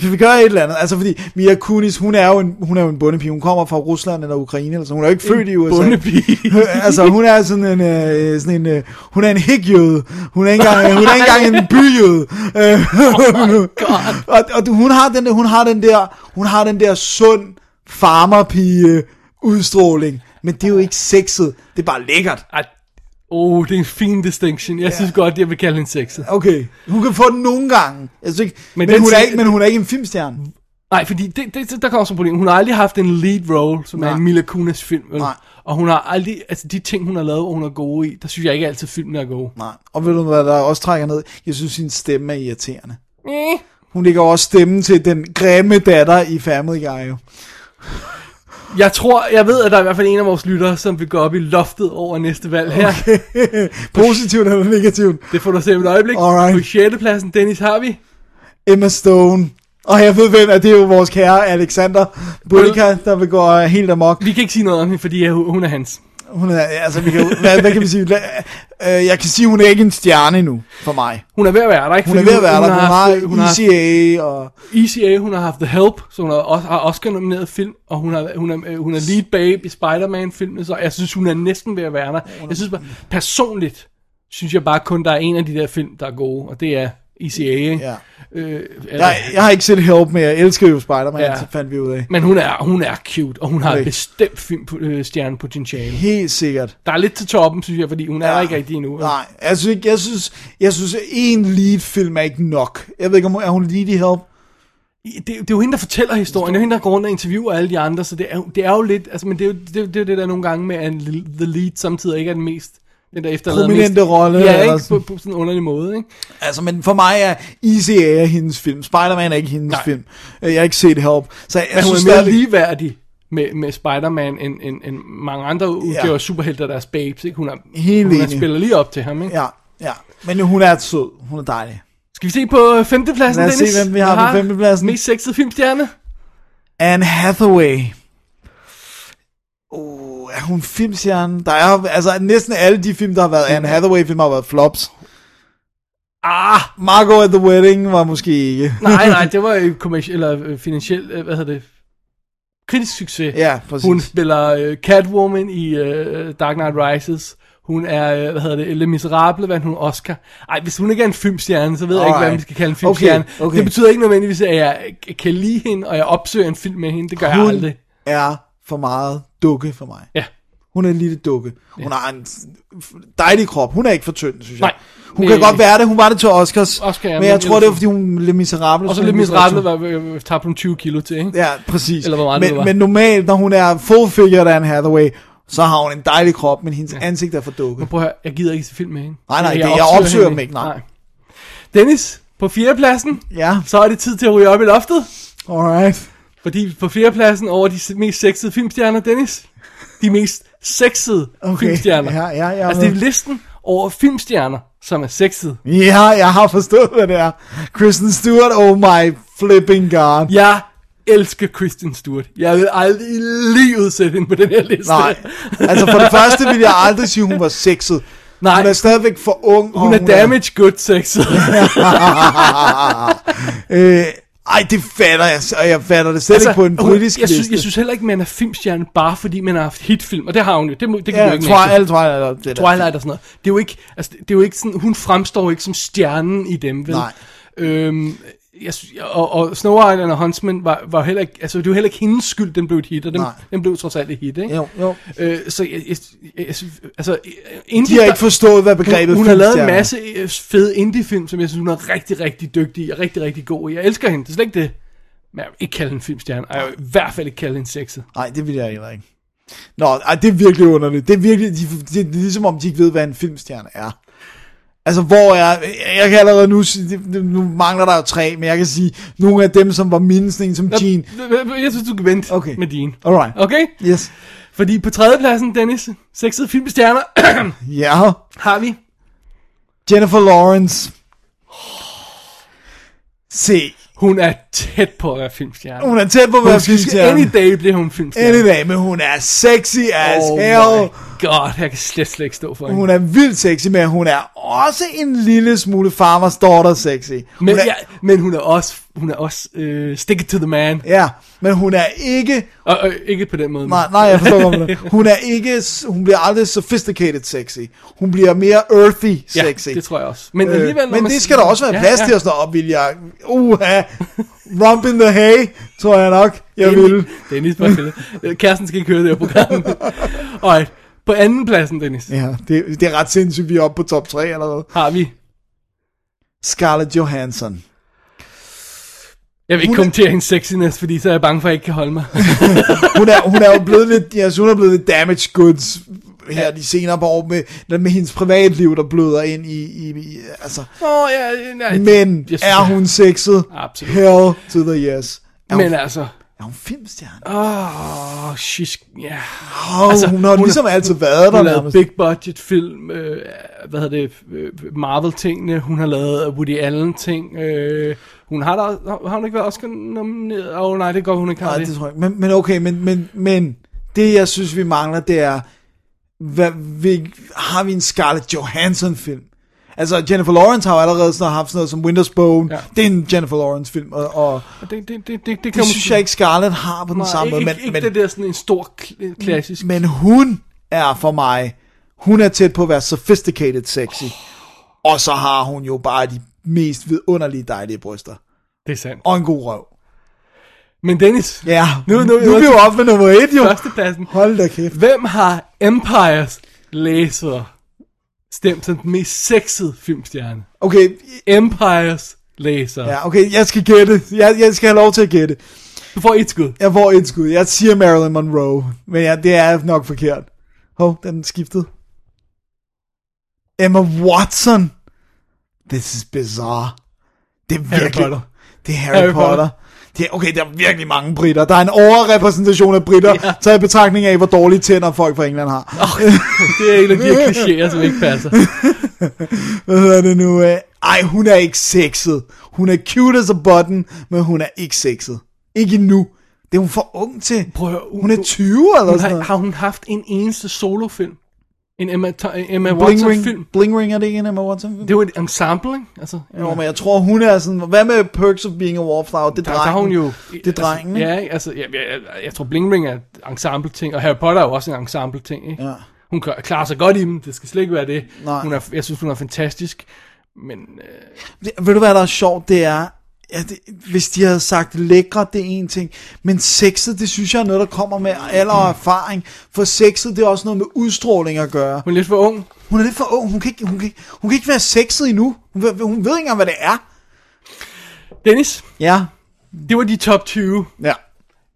S4: Kan vi gøre et eller andet? Altså, fordi Mia Kunis, hun er jo en, hun er jo en bondepige. Hun kommer fra Rusland eller Ukraine, eller sådan. Hun er jo ikke født i USA.
S3: Bundepige.
S4: altså, hun er sådan en, øh, sådan en øh, hun er en hikjøde. Hun er ikke engang, hun er ikke engang en byjøde. Øh,
S3: Oh
S4: og, og du- hun har den der, hun har den der, hun har den der sund farmerpige udstråling. Men det er jo ikke sexet. Det er bare lækkert.
S3: Ej, oh, det er en fin distinction. Jeg synes godt, jeg vil kalde hende sexet.
S4: Okay, hun kan få den nogle gange. Jeg synes ikke,
S3: Men den
S4: men, men, hun er
S3: side-
S4: ikke, men hun er ikke en filmstjerne.
S3: Nej, fordi det, det, der kommer sådan et problem. Hun har aldrig haft en lead role, som Nej. er
S4: Nej.
S3: en Mila Kunis film. Vel?
S4: Nej.
S3: Og hun har aldrig... Altså, de ting, hun har lavet, hvor hun er gode i, der synes jeg ikke altid, filmen er gode.
S4: Nej. Og ved du, hvad der også trækker ned? Jeg synes, sin stemme er irriterende.
S3: Mm.
S4: Hun ligger også stemmen til den grimme datter i Family Guy. jo.
S3: Jeg tror, jeg ved, at der er i hvert fald en af vores lyttere, som vil gå op i loftet over næste valg her.
S4: Positivt eller negativt.
S3: Det får du se om et øjeblik.
S4: Alright.
S3: På 6. pladsen, Dennis, har vi
S4: Emma Stone. Og jeg ved hvem, at det er jo vores kære Alexander Bulka, der vil gå øh, helt amok.
S3: Vi kan ikke sige noget om hende, fordi øh, hun hun er hans.
S4: Hun er, altså, vi kan, hvad, hvad kan vi sige? La- Øh, jeg kan sige, hun er ikke en stjerne endnu, for mig.
S3: Hun er ved at være der, ikke?
S4: Hun er
S3: Fordi
S4: ved at være der, hun
S3: haft-
S4: har,
S3: hun har haft
S4: ECA, og
S3: ECA, E hun har haft The Help, så hun har, også, har Oscar-nomineret film, og hun er, hun er, øh, hun er lead babe i Spider-Man-filmen, så jeg synes, hun er næsten ved at være der. Jeg synes bare, personligt, synes jeg bare kun, der er en af de der film, der er gode, og det er ECA, ikke?
S4: Ja.
S3: Øh, eller,
S4: jeg, jeg har ikke set Help, men jeg elsker jo Spider-Man,
S3: Ja.
S4: ja. så fandt vi ud af.
S3: Men hun er, hun er cute, og hun har
S4: Okay.
S3: bestemt film, øh, stjernepotentiale.
S4: Helt sikkert.
S3: Der er lidt til toppen, synes jeg, fordi hun er der ikke rigtig endnu.
S4: Nej, jeg synes, ikke- jeg synes, jeg synes, at en lead film er ikke nok. Jeg ved ikke, om er hun lead i Help?
S3: det, det er jo hende, der fortæller historien, det er jo hende, der går rundt og interviewer alle de andre, så det er, jo- det er jo lidt, altså, men det er jo det, er jo- det, er jo det der nogle gange med, at en l- the lead samtidig ikke er den mest, den der efterlader
S4: Prominente rolle,
S3: Ja,
S4: eller
S3: ikke? På,
S4: sådan.
S3: på sådan en underlig måde, ikke?
S4: Altså, men for mig er ECA er hendes film. Spider-Man er ikke hendes
S3: Nej.
S4: Nej. film. Øh, Jeg har ikke set Help. Så jeg,
S3: Men
S4: jeg
S3: hun
S4: synes,
S3: er mere
S4: stadig-
S3: ligeværdig med, med Spider-Man, end, end, end mange andre udgaver ja. superhelter, der er babes, ikke? Hun, er,
S4: Helt
S3: hun er
S4: enig.
S3: spiller lige op til ham, ikke?
S4: Ja, ja. Men hun er sød. Hun er dejlig.
S3: Skal vi se på øh, femtepladsen,
S4: Lad os
S3: Dennis?
S4: se, hvem vi har på
S3: Aha,
S4: femtepladsen.
S3: Mest sexede filmstjerne?
S4: Anne Hathaway. Oh, er hun filmstjernen? Der er, altså, næsten alle de film, der har været Anne Hathaway-film, har været flops. Ah, Margot at the Wedding var måske ikke.
S3: Nej, nej, det var jo kommerciel, eller øh, finansiel, øh, hvad hedder det? Kritisk succes.
S4: Ja, præcis.
S3: Hun spiller øh, Catwoman i øh, Dark Knight Rises. Hun er, øh, hvad hedder det, Le Miserable, vandt hun Oscar. Ej, hvis hun ikke er en filmstjerne, så ved jeg ikke, hvad
S4: Alright.
S3: man skal kalde en filmstjerne.
S4: Okay, okay.
S3: Det betyder ikke nødvendigvis, at jeg øh, kan lide hende, og jeg opsøger en film med hende. Det gør jeg
S4: Hun
S3: aldrig.
S4: er for meget dukke for mig.
S3: Ja.
S4: Hun er en lille dukke. Hun har en dejlig krop. Hun er ikke for tynd, synes jeg.
S3: Nej.
S4: Hun
S3: Øh,
S4: kan godt være det. Hun var det til Oscars.
S3: Oscar, ja,
S4: men jeg
S3: men
S4: tror, det er,
S3: ellers-
S4: fordi hun er lidt miserabel.
S3: Og så
S4: hun
S3: Le
S4: er
S3: Miserable
S4: lidt-
S3: var, øh, øh, tabte hun 20 kilo til, ikke?
S4: Ja, præcis.
S3: Eller hvor meget
S4: men,
S3: det var.
S4: men normalt, når hun er full figured af Anne Hathaway, så har hun en dejlig krop, men hendes ja. ansigt er for dukket.
S3: Men prøv at høre, jeg gider ikke se film med hende.
S4: Nej, nej, det- jeg opsøger dem
S3: hende
S4: ikke, nej.
S3: Dennis, på fjerdepladsen,
S4: Ja,
S3: så er det tid til at ryge op i loftet.
S4: alright.
S3: Fordi på fjerdepladsen over de se- mest sexede filmstjerner, Dennis, de mest sexede
S4: Okay.
S3: filmstjerner.
S4: Ja, ja, ja,
S3: altså det er
S4: men-
S3: listen over filmstjerner, som er sexede.
S4: Ja, jeg har forstået, hvad det er. Kristen Stewart, oh my flipping god.
S3: Jeg elsker Kristen Stewart. Jeg vil aldrig i livet sætte hende på den her liste.
S4: Nej, altså for det første vil jeg aldrig sige, at hun var sexet.
S3: Nej.
S4: Hun er stadigvæk for ung. og
S3: Hun er damage good sexet.
S4: Øh, ej, det fatter jeg, og jeg fatter det slet altså, ikke på en
S3: hun-
S4: britisk
S3: jeg synes,
S4: liste.
S3: jeg synes heller ikke, man er filmstjerne, bare fordi man har haft hitfilm. Og det har hun jo. Det, må, det kan
S4: ja,
S3: du jo ikke
S4: Twi-
S3: nægte.
S4: alle Twilight, og det der.
S3: Twilight og sådan noget. Det er jo ikke, altså, det er jo ikke sådan, hun fremstår ikke som stjernen i dem, vel?
S4: Nej.
S3: Øhm, jeg, sy- og, og Snow Island og Huntsman var, var heller ikke, altså det var heller ikke hendes skyld, den blev et hit, og den,
S4: Nej.
S3: den blev trods alt et hit, ikke?
S4: Jo, jo.
S3: Øh, så jeg, jeg, jeg, jeg, synes- altså, indie,
S4: De har ikke forstået, hvad begrebet
S3: hun, hun har lavet en
S4: filmstjerne er.
S3: masse øh, fede indie-film, som jeg synes, hun er rigtig, rigtig dygtig i, og rigtig, rigtig god i. Jeg elsker hende, det er slet ikke det. Men jeg vil ikke kalde hende filmstjerne, og jeg vil i hvert fald ikke kalde hende sexet.
S4: Nej, det vil jeg heller ikke. Nå, ej, det er virkelig underligt. Det er virkelig, de, de, det er ligesom om de ikke ved, hvad en filmstjerne er. Altså, hvor er, jeg kan allerede nu sige, det- det- nu mangler der jo tre, men jeg kan sige, nogle af dem, som var mindst, en som Jean.
S3: Jeg synes, du kan vente
S4: Okay.
S3: med din.
S4: Alright.
S3: Okay?
S4: Yes.
S3: Fordi på tredjepladsen, Dennis, sexede filmstjerner,
S4: Ja.
S3: har vi.
S4: Jennifer Lawrence. Se,
S3: Hun er tæt på at være filmstjerne.
S4: hun er tæt på at være
S3: Hun skal- Any
S4: filmstjerne.
S3: day bliver hun filmstjerne.
S4: Any day, men hun er sexy as
S3: Oh
S4: hell.
S3: my god, jeg kan slet, slet ikke stå for hende.
S4: Hun er vildt sexy, men hun er også en lille smule farmers daughter sexy. Hun
S3: men,
S4: er,
S3: ja, men hun er også, hun er også øh, stick it to the man.
S4: Ja, men hun er ikke...
S3: Og, og ikke på den måde. men-
S4: Nej, nej, jeg forstår godt, hvad du mener. Hun er ikke... Hun bliver aldrig sophisticated sexy. Hun bliver mere earthy
S3: ja,
S4: sexy.
S3: det tror jeg også. Men,
S4: Øh,
S3: alligevel, når
S4: men
S3: man
S4: det
S3: s-
S4: skal der også være plads til at stå op, vil jeg. Uha, rump in the hay, tror jeg nok, jeg vil.
S3: Dennis, bare stille. Øh, Kæresten skal ikke høre det her program. Alright. På anden pladsen, Dennis,
S4: Ja, det, det er ret sindssygt, vi er oppe på top 3 allerede.
S3: har vi...
S4: Scarlett Johansson.
S3: Jeg vil ikke
S4: Hun er-
S3: kommentere hendes sexiness, fordi så er jeg bange for, at jeg ikke kan holde mig.
S4: hun er, hun er jo blevet lidt, ja, altså, hun er blevet lidt damage goods her de senere par år med, med hendes privatliv, der bløder ind i, i, i altså.
S3: Åh, oh, ja, nej.
S4: Men
S3: jeg synes-
S4: er hun sexet?
S3: Absolut.
S4: Hell to the yes. Er hun,
S3: Men altså...
S4: er hun filmstjerne?
S3: Åh, oh, she's... Ja.
S4: Oh, altså, hun har hun ligesom altid været der
S3: Hun har lavet
S4: nærmest.
S3: big budget film, øh, hvad hedder det, øh, Marvel-tingene, hun har lavet Woody Allen-ting, øh, hun har da, har hun ikke været Oscar nomineret? Åh oh, nej, det går hun ikke har
S4: Nej,
S3: det.
S4: det tror jeg ikke. Men, men okay, men, men, men det jeg synes, vi mangler, det er, hvad, vi, har vi en Scarlett Johansson-film? Altså, Jennifer Lawrence har jo allerede sådan haft sådan noget som Winter's Bone.
S3: Ja.
S4: Ja. Det er en Jennifer Lawrence-film, og, og
S3: Og det, det, det, det, det kan
S4: det synes jeg ikke, Scarlett har på den samme
S3: ikke,
S4: måde. Men,
S3: ikke, ikke
S4: men, Mm.
S3: det der sådan en stor kl- klassisk.
S4: men hun er for mig, hun er tæt på at være sophisticated sexy. Og så har hun jo bare de mest vidunderlige dejlige bryster.
S3: Det er sandt.
S4: Og en god røv.
S3: Men Dennis,
S4: Ja,
S3: nu, nu,
S4: nu er vi jo oppe ved nummer et, jo.
S3: førstepladsen.
S4: Hold da kæft.
S3: Hvem har Empires laser stemt som den mest sexede filmstjerne?
S4: Okay,
S3: Empires laser.
S4: ja, okay, jeg skal gætte. Jeg, jeg skal have lov til at gætte.
S3: Du får et skud.
S4: Jeg får et skud. Jeg siger Marilyn Monroe, men ja, det er nok forkert. Hov, den skiftede. Emma Watson. This is bizarre. Det er virkelig...
S3: Potter.
S4: Det er Harry,
S3: Harry
S4: Harry
S3: Potter.
S4: Potter. Potter. Det er, okay, der er virkelig mange britter. Der er en overrepræsentation af britter,
S3: Ja.
S4: ja. taget i betragtning af, hvor dårlige tænder folk fra England har.
S3: Det er en af de her klichéer, som ikke passer.
S4: Hvad hedder det nu? øh? Ej, hun er ikke sexet. Hun er cute as a button, men hun er ikke sexet. Ikke endnu. Det er hun for ung til.
S3: Prøv at høre,
S4: hun er 20 eller
S3: Hun
S4: sådan
S3: har,
S4: noget.
S3: har hun haft en eneste solofilm? En Emma, Ta- Emma
S4: Bling Ring,
S3: Watson-film?
S4: Bling Ring er det ikke en Emma Watson film?
S3: Det er jo et ensemble, ikke? Altså,
S4: Jo, men jeg tror, hun er sådan... Hvad med Perks of Being a Wallflower? Det er
S3: der, der har hun
S4: drengen.
S3: jo...
S4: Det er drengen,
S3: altså, Ja, ikke? altså, jeg, jeg, jeg, jeg tror Bling Ring er et ensemble-ting, og Harry Potter er jo også en ensemble-ting, ikke?
S4: Ja.
S3: Hun kan- klarer sig godt i dem, det skal slet ikke være det.
S4: Nej.
S3: Hun er, jeg synes, hun er fantastisk, men... Øh,
S4: Det- Ved du hvad der er sjovt? Det er... Ja, det, hvis de havde sagt lækre, det er en ting. Men sexet, det synes jeg er noget, der kommer med alder og erfaring. For sexet, det er også noget med udstråling at gøre.
S3: hun er lidt for ung.
S4: Hun er lidt for ung. Hun kan ikke, hun kan, ikke- hun kan ikke være sexet endnu. Hun, ved- hun ved ikke engang, hvad det er.
S3: Dennis,
S4: Ja.
S3: det var de top 20.
S4: Ja.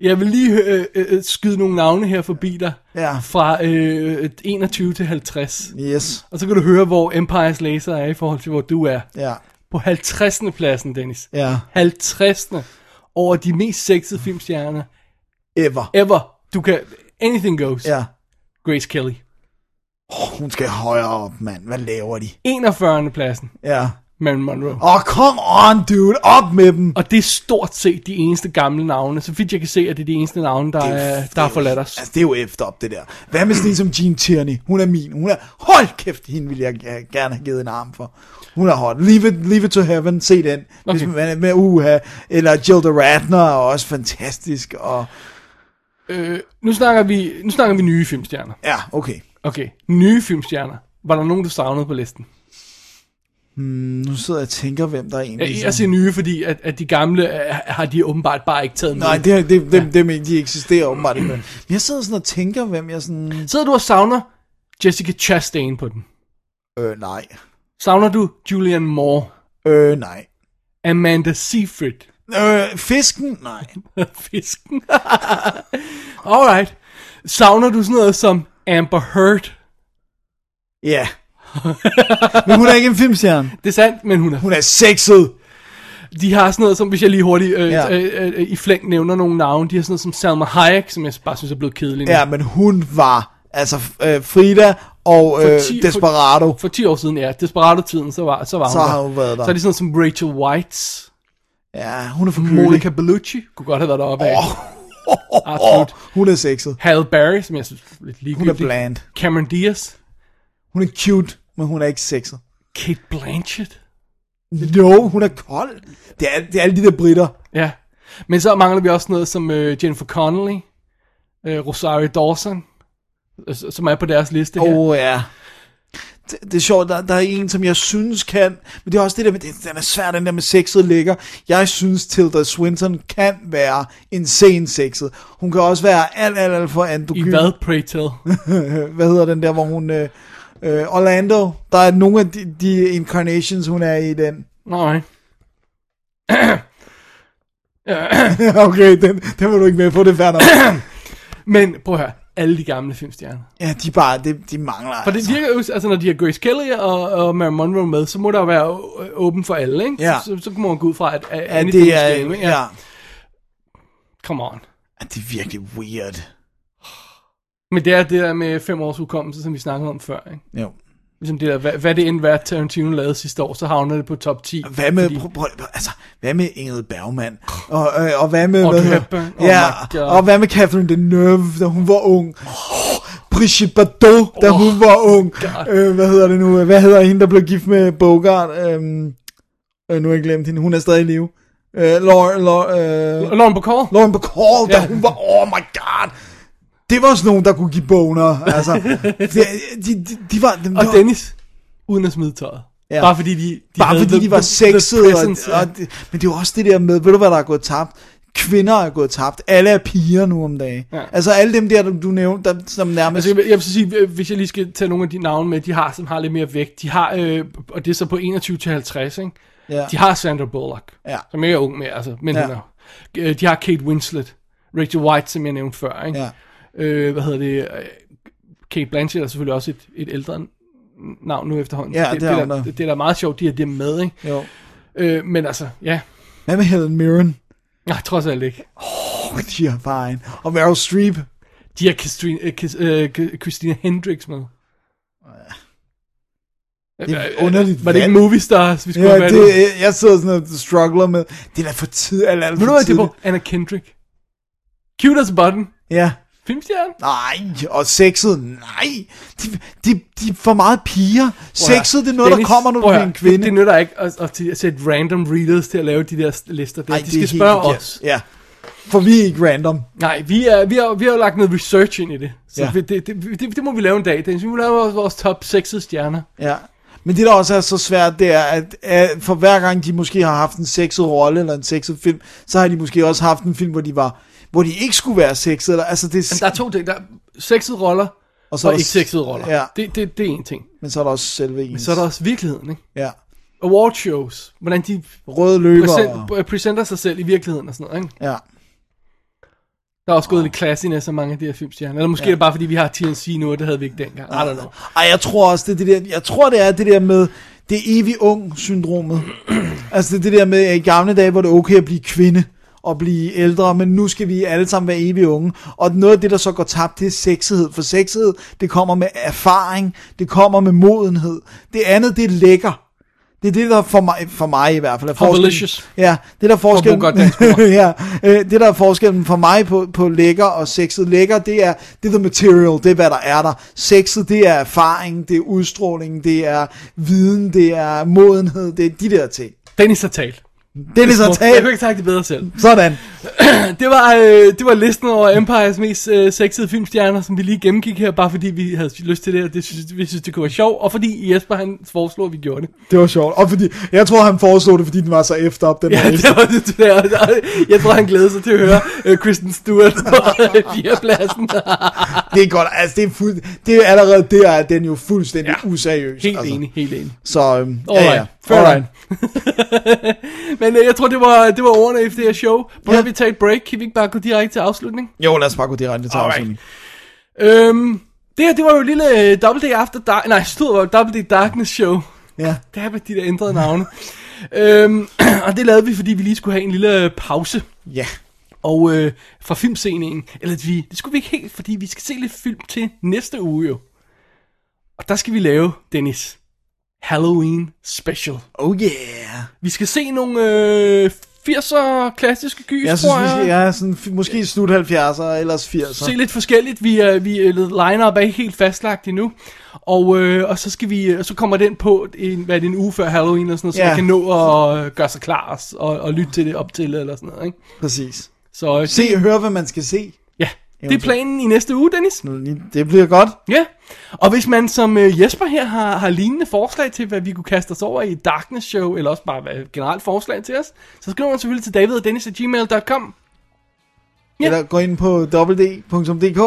S3: Jeg vil lige øh, øh, øh, skyde nogle navne her forbi dig.
S4: Ja.
S3: Fra øh, 21 til 50.
S4: Yes.
S3: Og så kan du høre, hvor Empires Laser er i forhold til, hvor du er.
S4: Ja.
S3: På 50. pladsen, Dennis.
S4: Ja.
S3: 50. Over de mest sexede filmstjerner
S4: Ever.
S3: ever. Du kan... Anything goes.
S4: Ja.
S3: Grace Kelly.
S4: Oh, hun skal højere op, mand. Hvad laver de?
S3: 41. pladsen.
S4: Ja.
S3: Marilyn Monroe.
S4: Åh, oh, come on, dude. Op med dem.
S3: Og det er stort set de eneste gamle navne. Så vidt jeg kan se, at det er de eneste navne, der, er, Øh, der har forladt os.
S4: Altså, det er jo efter op, det der. Hvad med sådan en som Jean Tierney? Hun er min. Hun er... Hold kæft, hende ville jeg g- gerne have givet en arm for. Hun er hot. Leave it, leave it to heaven. Se den. Okay. Hvis man, med uha. Eller Gilda Radner er også fantastisk. Og...
S3: Øh, nu, snakker vi, nu snakker vi nye filmstjerner.
S4: Ja, okay.
S3: Okay, nye filmstjerner. Var der nogen, du savnede på listen?
S4: Nu sidder jeg og tænker, hvem der er egentlig...
S3: Øh, Jeg, jeg siger nye, fordi at, at de gamle øh, har de åbenbart bare ikke taget med.
S4: Nej, det, det, dem, dem, ikke. de eksisterer åbenbart ikke. Men jeg sidder sådan og tænker, hvem jeg sådan...
S3: Sidder du og savner Jessica Chastain på den?
S4: Øh, nej.
S3: Savner du Julianne Moore?
S4: Øh, nej.
S3: Amanda Seyfried?
S4: Øh, fisken? Nej.
S3: Fisken? Alright. Savner du sådan noget som Amber Heard?
S4: Ja. Men hun er ikke en filmstjerne.
S3: Det er sandt, men hun er
S4: Hun er sexet.
S3: De har sådan noget som, hvis jeg lige hurtigt øh, ja.
S4: Ja.
S3: øh, øh, øh, i flæng nævner nogle navne, de har sådan noget som Salma Hayek, som jeg bare synes er blevet kedelig. nu.
S4: Ja, men hun var, altså øh, Frida og øh,
S3: ti-
S4: Desperado.
S3: For 10 år siden, ja, Desperado-tiden, så var, så var
S4: Så
S3: hun
S4: har
S3: der.
S4: hun været der.
S3: Så er det sådan noget som Rachel Whites,
S4: ja, hun er for kølig.
S3: Monica Bellucci, kunne godt have været deroppe af. Oh. Absolut.
S4: Absolut. Hun er sexet.
S3: Halle Berry, som jeg synes er lidt
S4: Hun
S3: ligegyldig.
S4: er bland.
S3: Cameron Diaz,
S4: Hun er cute, men hun er ikke sexet.
S3: Kate Blanchett.
S4: Jo, hun er kold. Det er, det er alle de der britter.
S3: Ja. Men så mangler vi også noget som øh, Jennifer Connelly, øh, Rosario Dawson, øh, som er på deres liste her.
S4: Åh, oh, ja. Det, det er sjovt, der, der er en, som jeg synes kan, men det er også det der med, den- den er svær, den der med sexet ligger. Jeg synes, Tilda Swinton kan være insane sexet. Hun kan også være alt, alt, alt for androgyn.
S3: I hvad, pray tell?
S4: hvad hedder den der, hvor hun... Øh, øh, Orlando, der er nogle af de, de incarnations, hun er i den.
S3: Nej.
S4: okay, den, den var du ikke med på, det er fair nok.
S3: Men prøv at høre, alle de gamle filmstjerner.
S4: ja, de, er bare, de, de mangler
S3: For det virker jo, altså når de har Grace Kelly og, og Mary Monroe med, så må der jo være å- øh, åben for alle, ikke?
S4: Ja.
S3: Så, så, så må man gå ud fra, at, at
S4: ja,
S3: anything
S4: det
S3: is
S4: er,
S3: game, ikke?
S4: ja.
S3: Come on.
S4: ja, det er virkelig weird.
S3: Men det er det der med fem års hukommelse, som vi snakkede om før, ikke?
S4: Jo.
S3: Ligesom det der, hvad, hvad det end var, Tarantino lavede sidste år, så havner det på top 10.
S4: Hvad med,
S3: Fordi-
S4: prøv, prøv, altså, hvad med Ingrid Bergman? Og, øh, og hvad med...
S3: Audrey
S4: hvad,
S3: Hepburn. Oh
S4: ja,
S3: my God.
S4: og hvad med Catherine Deneuve, da hun var ung? Oh, Brigitte Bardot, da oh, hun var ung. Øh, hvad hedder det nu? Hvad hedder hende, der blev gift med Bogart? Øhm, øh, nu har jeg glemt hende. Hun er stadig i live. Øh, Lauren, Lauren, øh,
S3: Lauren Bacall.
S4: Lauren Bacall, da
S3: Ja.
S4: hun var... Oh my god! Det var sådan nogen, der kunne give boner. Altså, de, de, de, de var... Dem,
S3: Og
S4: de var
S3: Dennis, uden at smide tøjet.
S4: Ja.
S3: Ja. Bare fordi de, de
S4: bare
S3: havde
S4: fordi
S3: the-
S4: de var
S3: the- the
S4: sexede. Og,
S3: presence, ja.
S4: og, det- men det er jo også det der med, ved du hvad der er gået tabt? Kvinder er gået tabt. Alle er piger nu om dagen. Ja.
S3: Ja.
S4: Altså alle dem der, du, du nævnte, der, som nærmest...
S3: Altså, jeg, vil- jeg vil så sige, øh, hvis jeg lige skal tage nogle af de navne med, de har, som har lidt mere vægt. De har, øh, og det er så på 21 til 50, ikke?
S4: Ja.
S3: De har Sandra Bullock,
S4: Ja.
S3: som jeg er ung med, altså, men
S4: Ja.
S3: ja. er. Øh, De har Kate Winslet, Rachel White, som jeg nævnte før, ikke?
S4: Ja.
S3: Øh, hvad hedder det? øh, Kate Blanchett er selvfølgelig også et, et ældre navn nu efterhånden.
S4: Ja, det
S3: det,
S4: er
S3: det,
S4: hun da.
S3: der, det, det er da meget sjovt, de har det med, ikke?
S4: Jo.
S3: Øh, men altså, ja.
S4: Hvad med Helen Mirren?
S3: Nej, trods alt ikke.
S4: Oh, de er bare en. Og Meryl Streep.
S3: De har Christine, øh, Chris- øh, Christina Hendricks med.
S4: Det er
S3: Øh,
S4: et underligt
S3: Var det ikke
S4: valg.
S3: movie stars, vi skulle
S4: Ja,
S3: have valgt?
S4: det, jeg sidder sådan og struggler med, det er da for tid, alt, alt
S3: Ved du
S4: for
S3: hvad, det
S4: tidligt.
S3: var Anna Kendrick. Cute as a button.
S4: Ja.
S3: Filmstjerne.
S4: Nej, og sexet, nej. De, de, de er for meget piger. Sexet, det er noget,
S3: Dennis,
S4: der kommer, når du
S3: prøv at
S4: er en
S3: høre,
S4: kvinde.
S3: Det, det nytter ikke at, at, til- at sætte random readers til at lave de der lister. Der.
S4: Ej,
S3: de
S4: det er
S3: skal
S4: helt
S3: spørge
S4: forkert.
S3: os.
S4: Ja. For vi er ikke random.
S3: Nej, vi, er, vi, har, vi har jo lagt noget research ind i det. Så
S4: Ja.
S3: ja. det, det, det, det, må vi lave en dag, Dennis. Vi må lave vores, vores top 6 stjerner.
S4: Ja. Men det, der også er så svært, det er, at øh, for hver gang de måske har haft en sexet rolle eller en sexet film, så har de måske også haft en film, hvor de var hvor de ikke skulle være sexet. Eller, altså det,
S3: Men der er to ting. Der er sexede roller og,
S4: er
S3: så og
S4: der-
S3: ikke sexede roller.
S4: Ja.
S3: Det, det, det er en ting.
S4: men så er der også selve ens.
S3: Så er der også virkeligheden, ikke?
S4: Ja.
S3: Award shows. Hvordan de
S4: Røde løber. og-
S3: præsent, præsenter sig selv i virkeligheden og sådan noget, ikke?
S4: Ja.
S3: Der er også gået lidt klassiness af mange af de her filmstjerner. Eller måske ja. er det bare, fordi vi har TNC nu, og det havde vi ikke dengang. I
S4: Ah.
S3: don't know.
S4: Ej, jeg tror også, det er det der, jeg tror, det er det der med det evig ung-syndromet. altså det, er det der med, at i gamle dage var det okay at blive kvinde og blive ældre, men nu skal vi alle sammen være evig unge. Og noget af det, der så går tabt, det er sexighed. For sexighed, det kommer med erfaring, det kommer med modenhed. Det andet, det er lækker. Det er det, der for mig, for mig i hvert fald er forskellen.
S3: Hovelicious.
S4: Ja, det der er forskellen.
S3: Bogart dansk ord.
S4: ja, øh, det der er forskellen for mig på, på lækker og sexet. Lækker, det er, det er the material, det er hvad der er der. Sexet, det er erfaring, det er udstråling, det er viden, det er modenhed, det er de der ting.
S3: Dennis har talt.
S4: Det er ligesom
S3: Jeg kunne
S4: talt.
S3: ikke sagt det bedre selv.
S4: Sådan.
S3: Det var, øh, det var listen over Empires mest øh, sexede filmstjerner, som vi lige gennemgik her, bare fordi vi havde lyst til det, og det synes, vi synes, det kunne være sjovt, og fordi Jesper han foreslog, at vi gjorde det.
S4: Det var sjovt. Og fordi, jeg tror, han foreslog det, fordi den var så efter op, den
S3: Ja,
S4: her liste.
S3: det var det, det der. Jeg tror, han glædede sig til at høre øh, Kristen Stewart på øh, fjerdepladsen.
S4: Det er godt. Altså, det er, fuld, det er allerede der, at den jo fuldstændig ja. useriøs.
S3: Helt
S4: altså.
S3: enig, helt enig.
S4: Så, øhm, ja, ja.
S3: Alright, fair Men øh, jeg tror, det var, det var ordene efter det her show. Burde
S4: Ja.
S3: ja. vi tage et break? Kan vi ikke bare gå direkte til afslutning?
S4: Jo, lad os bare gå direkte til afslutningen.
S3: Øhm, det her, det var jo et lille øh, Double Day After Dark... Nej, stod var Double Day Darkness Show.
S4: Ja.
S3: Det er med de der ændrede navne. øhm, og det lavede vi, fordi vi lige skulle have en lille øh, pause.
S4: Ja.
S3: Og øh, fra filmscenen, eller at vi, det skulle vi ikke helt, fordi vi skal se lidt film til næste uge jo. Og der skal vi lave, Dennis, Halloween Special.
S4: Oh yeah.
S3: Vi skal se nogle øh, 80'er klassiske gys,
S4: Jeg synes,
S3: tror
S4: vi
S3: jeg.
S4: skal, ja, sådan, f- måske slut 70'er, ellers 80'er.
S3: Se lidt forskelligt. Vi er, vi er line-up er ikke helt fastlagt endnu. Og, øh, og så skal vi, og så kommer den på, en, hvad er det, en uge før Halloween og sådan noget, så
S4: Ja.
S3: man kan nå at øh, gøre sig klar og, s- og, og lytte til det op til eller sådan noget, ikke?
S4: Præcis.
S3: Så øh,
S4: Se og hør, hvad man skal se.
S3: ja, det er planen i næste uge, Dennis.
S4: Det bliver godt.
S3: Ja, og hvis man som øh, Jesper her har, har lignende forslag til, hvad vi kunne kaste os over i et Darkness Show, eller også bare hvad, generelt forslag til os, så skriver man selvfølgelig til david.dennis.gmail.com
S4: Ja.
S3: Ja.
S4: Eller gå ind på www.dk,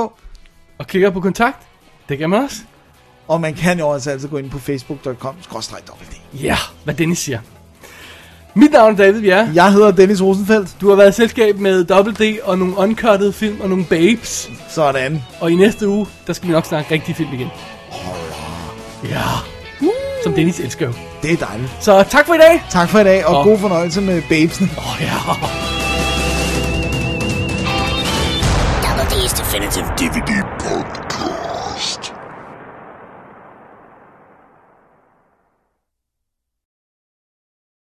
S3: og klikker på kontakt. Det kan man også.
S4: og man kan jo også altid gå ind på facebook.com. www.
S3: Ja, hvad Dennis siger. Mit navn er David Bjerre.
S4: Jeg hedder Dennis Rosenfeldt.
S3: Du har været i selskab med Double D og nogle uncuttede film og nogle babes.
S4: Sådan.
S3: Og i næste uge, der skal vi nok snakke rigtig film igen. Ja. Som Dennis elsker jo.
S4: Det er dejligt.
S3: Så tak for i dag.
S4: Tak for i dag, og
S3: Åh.
S4: god fornøjelse med babesen.
S3: Åh oh, ja.
S2: Definitive DVD Podcast.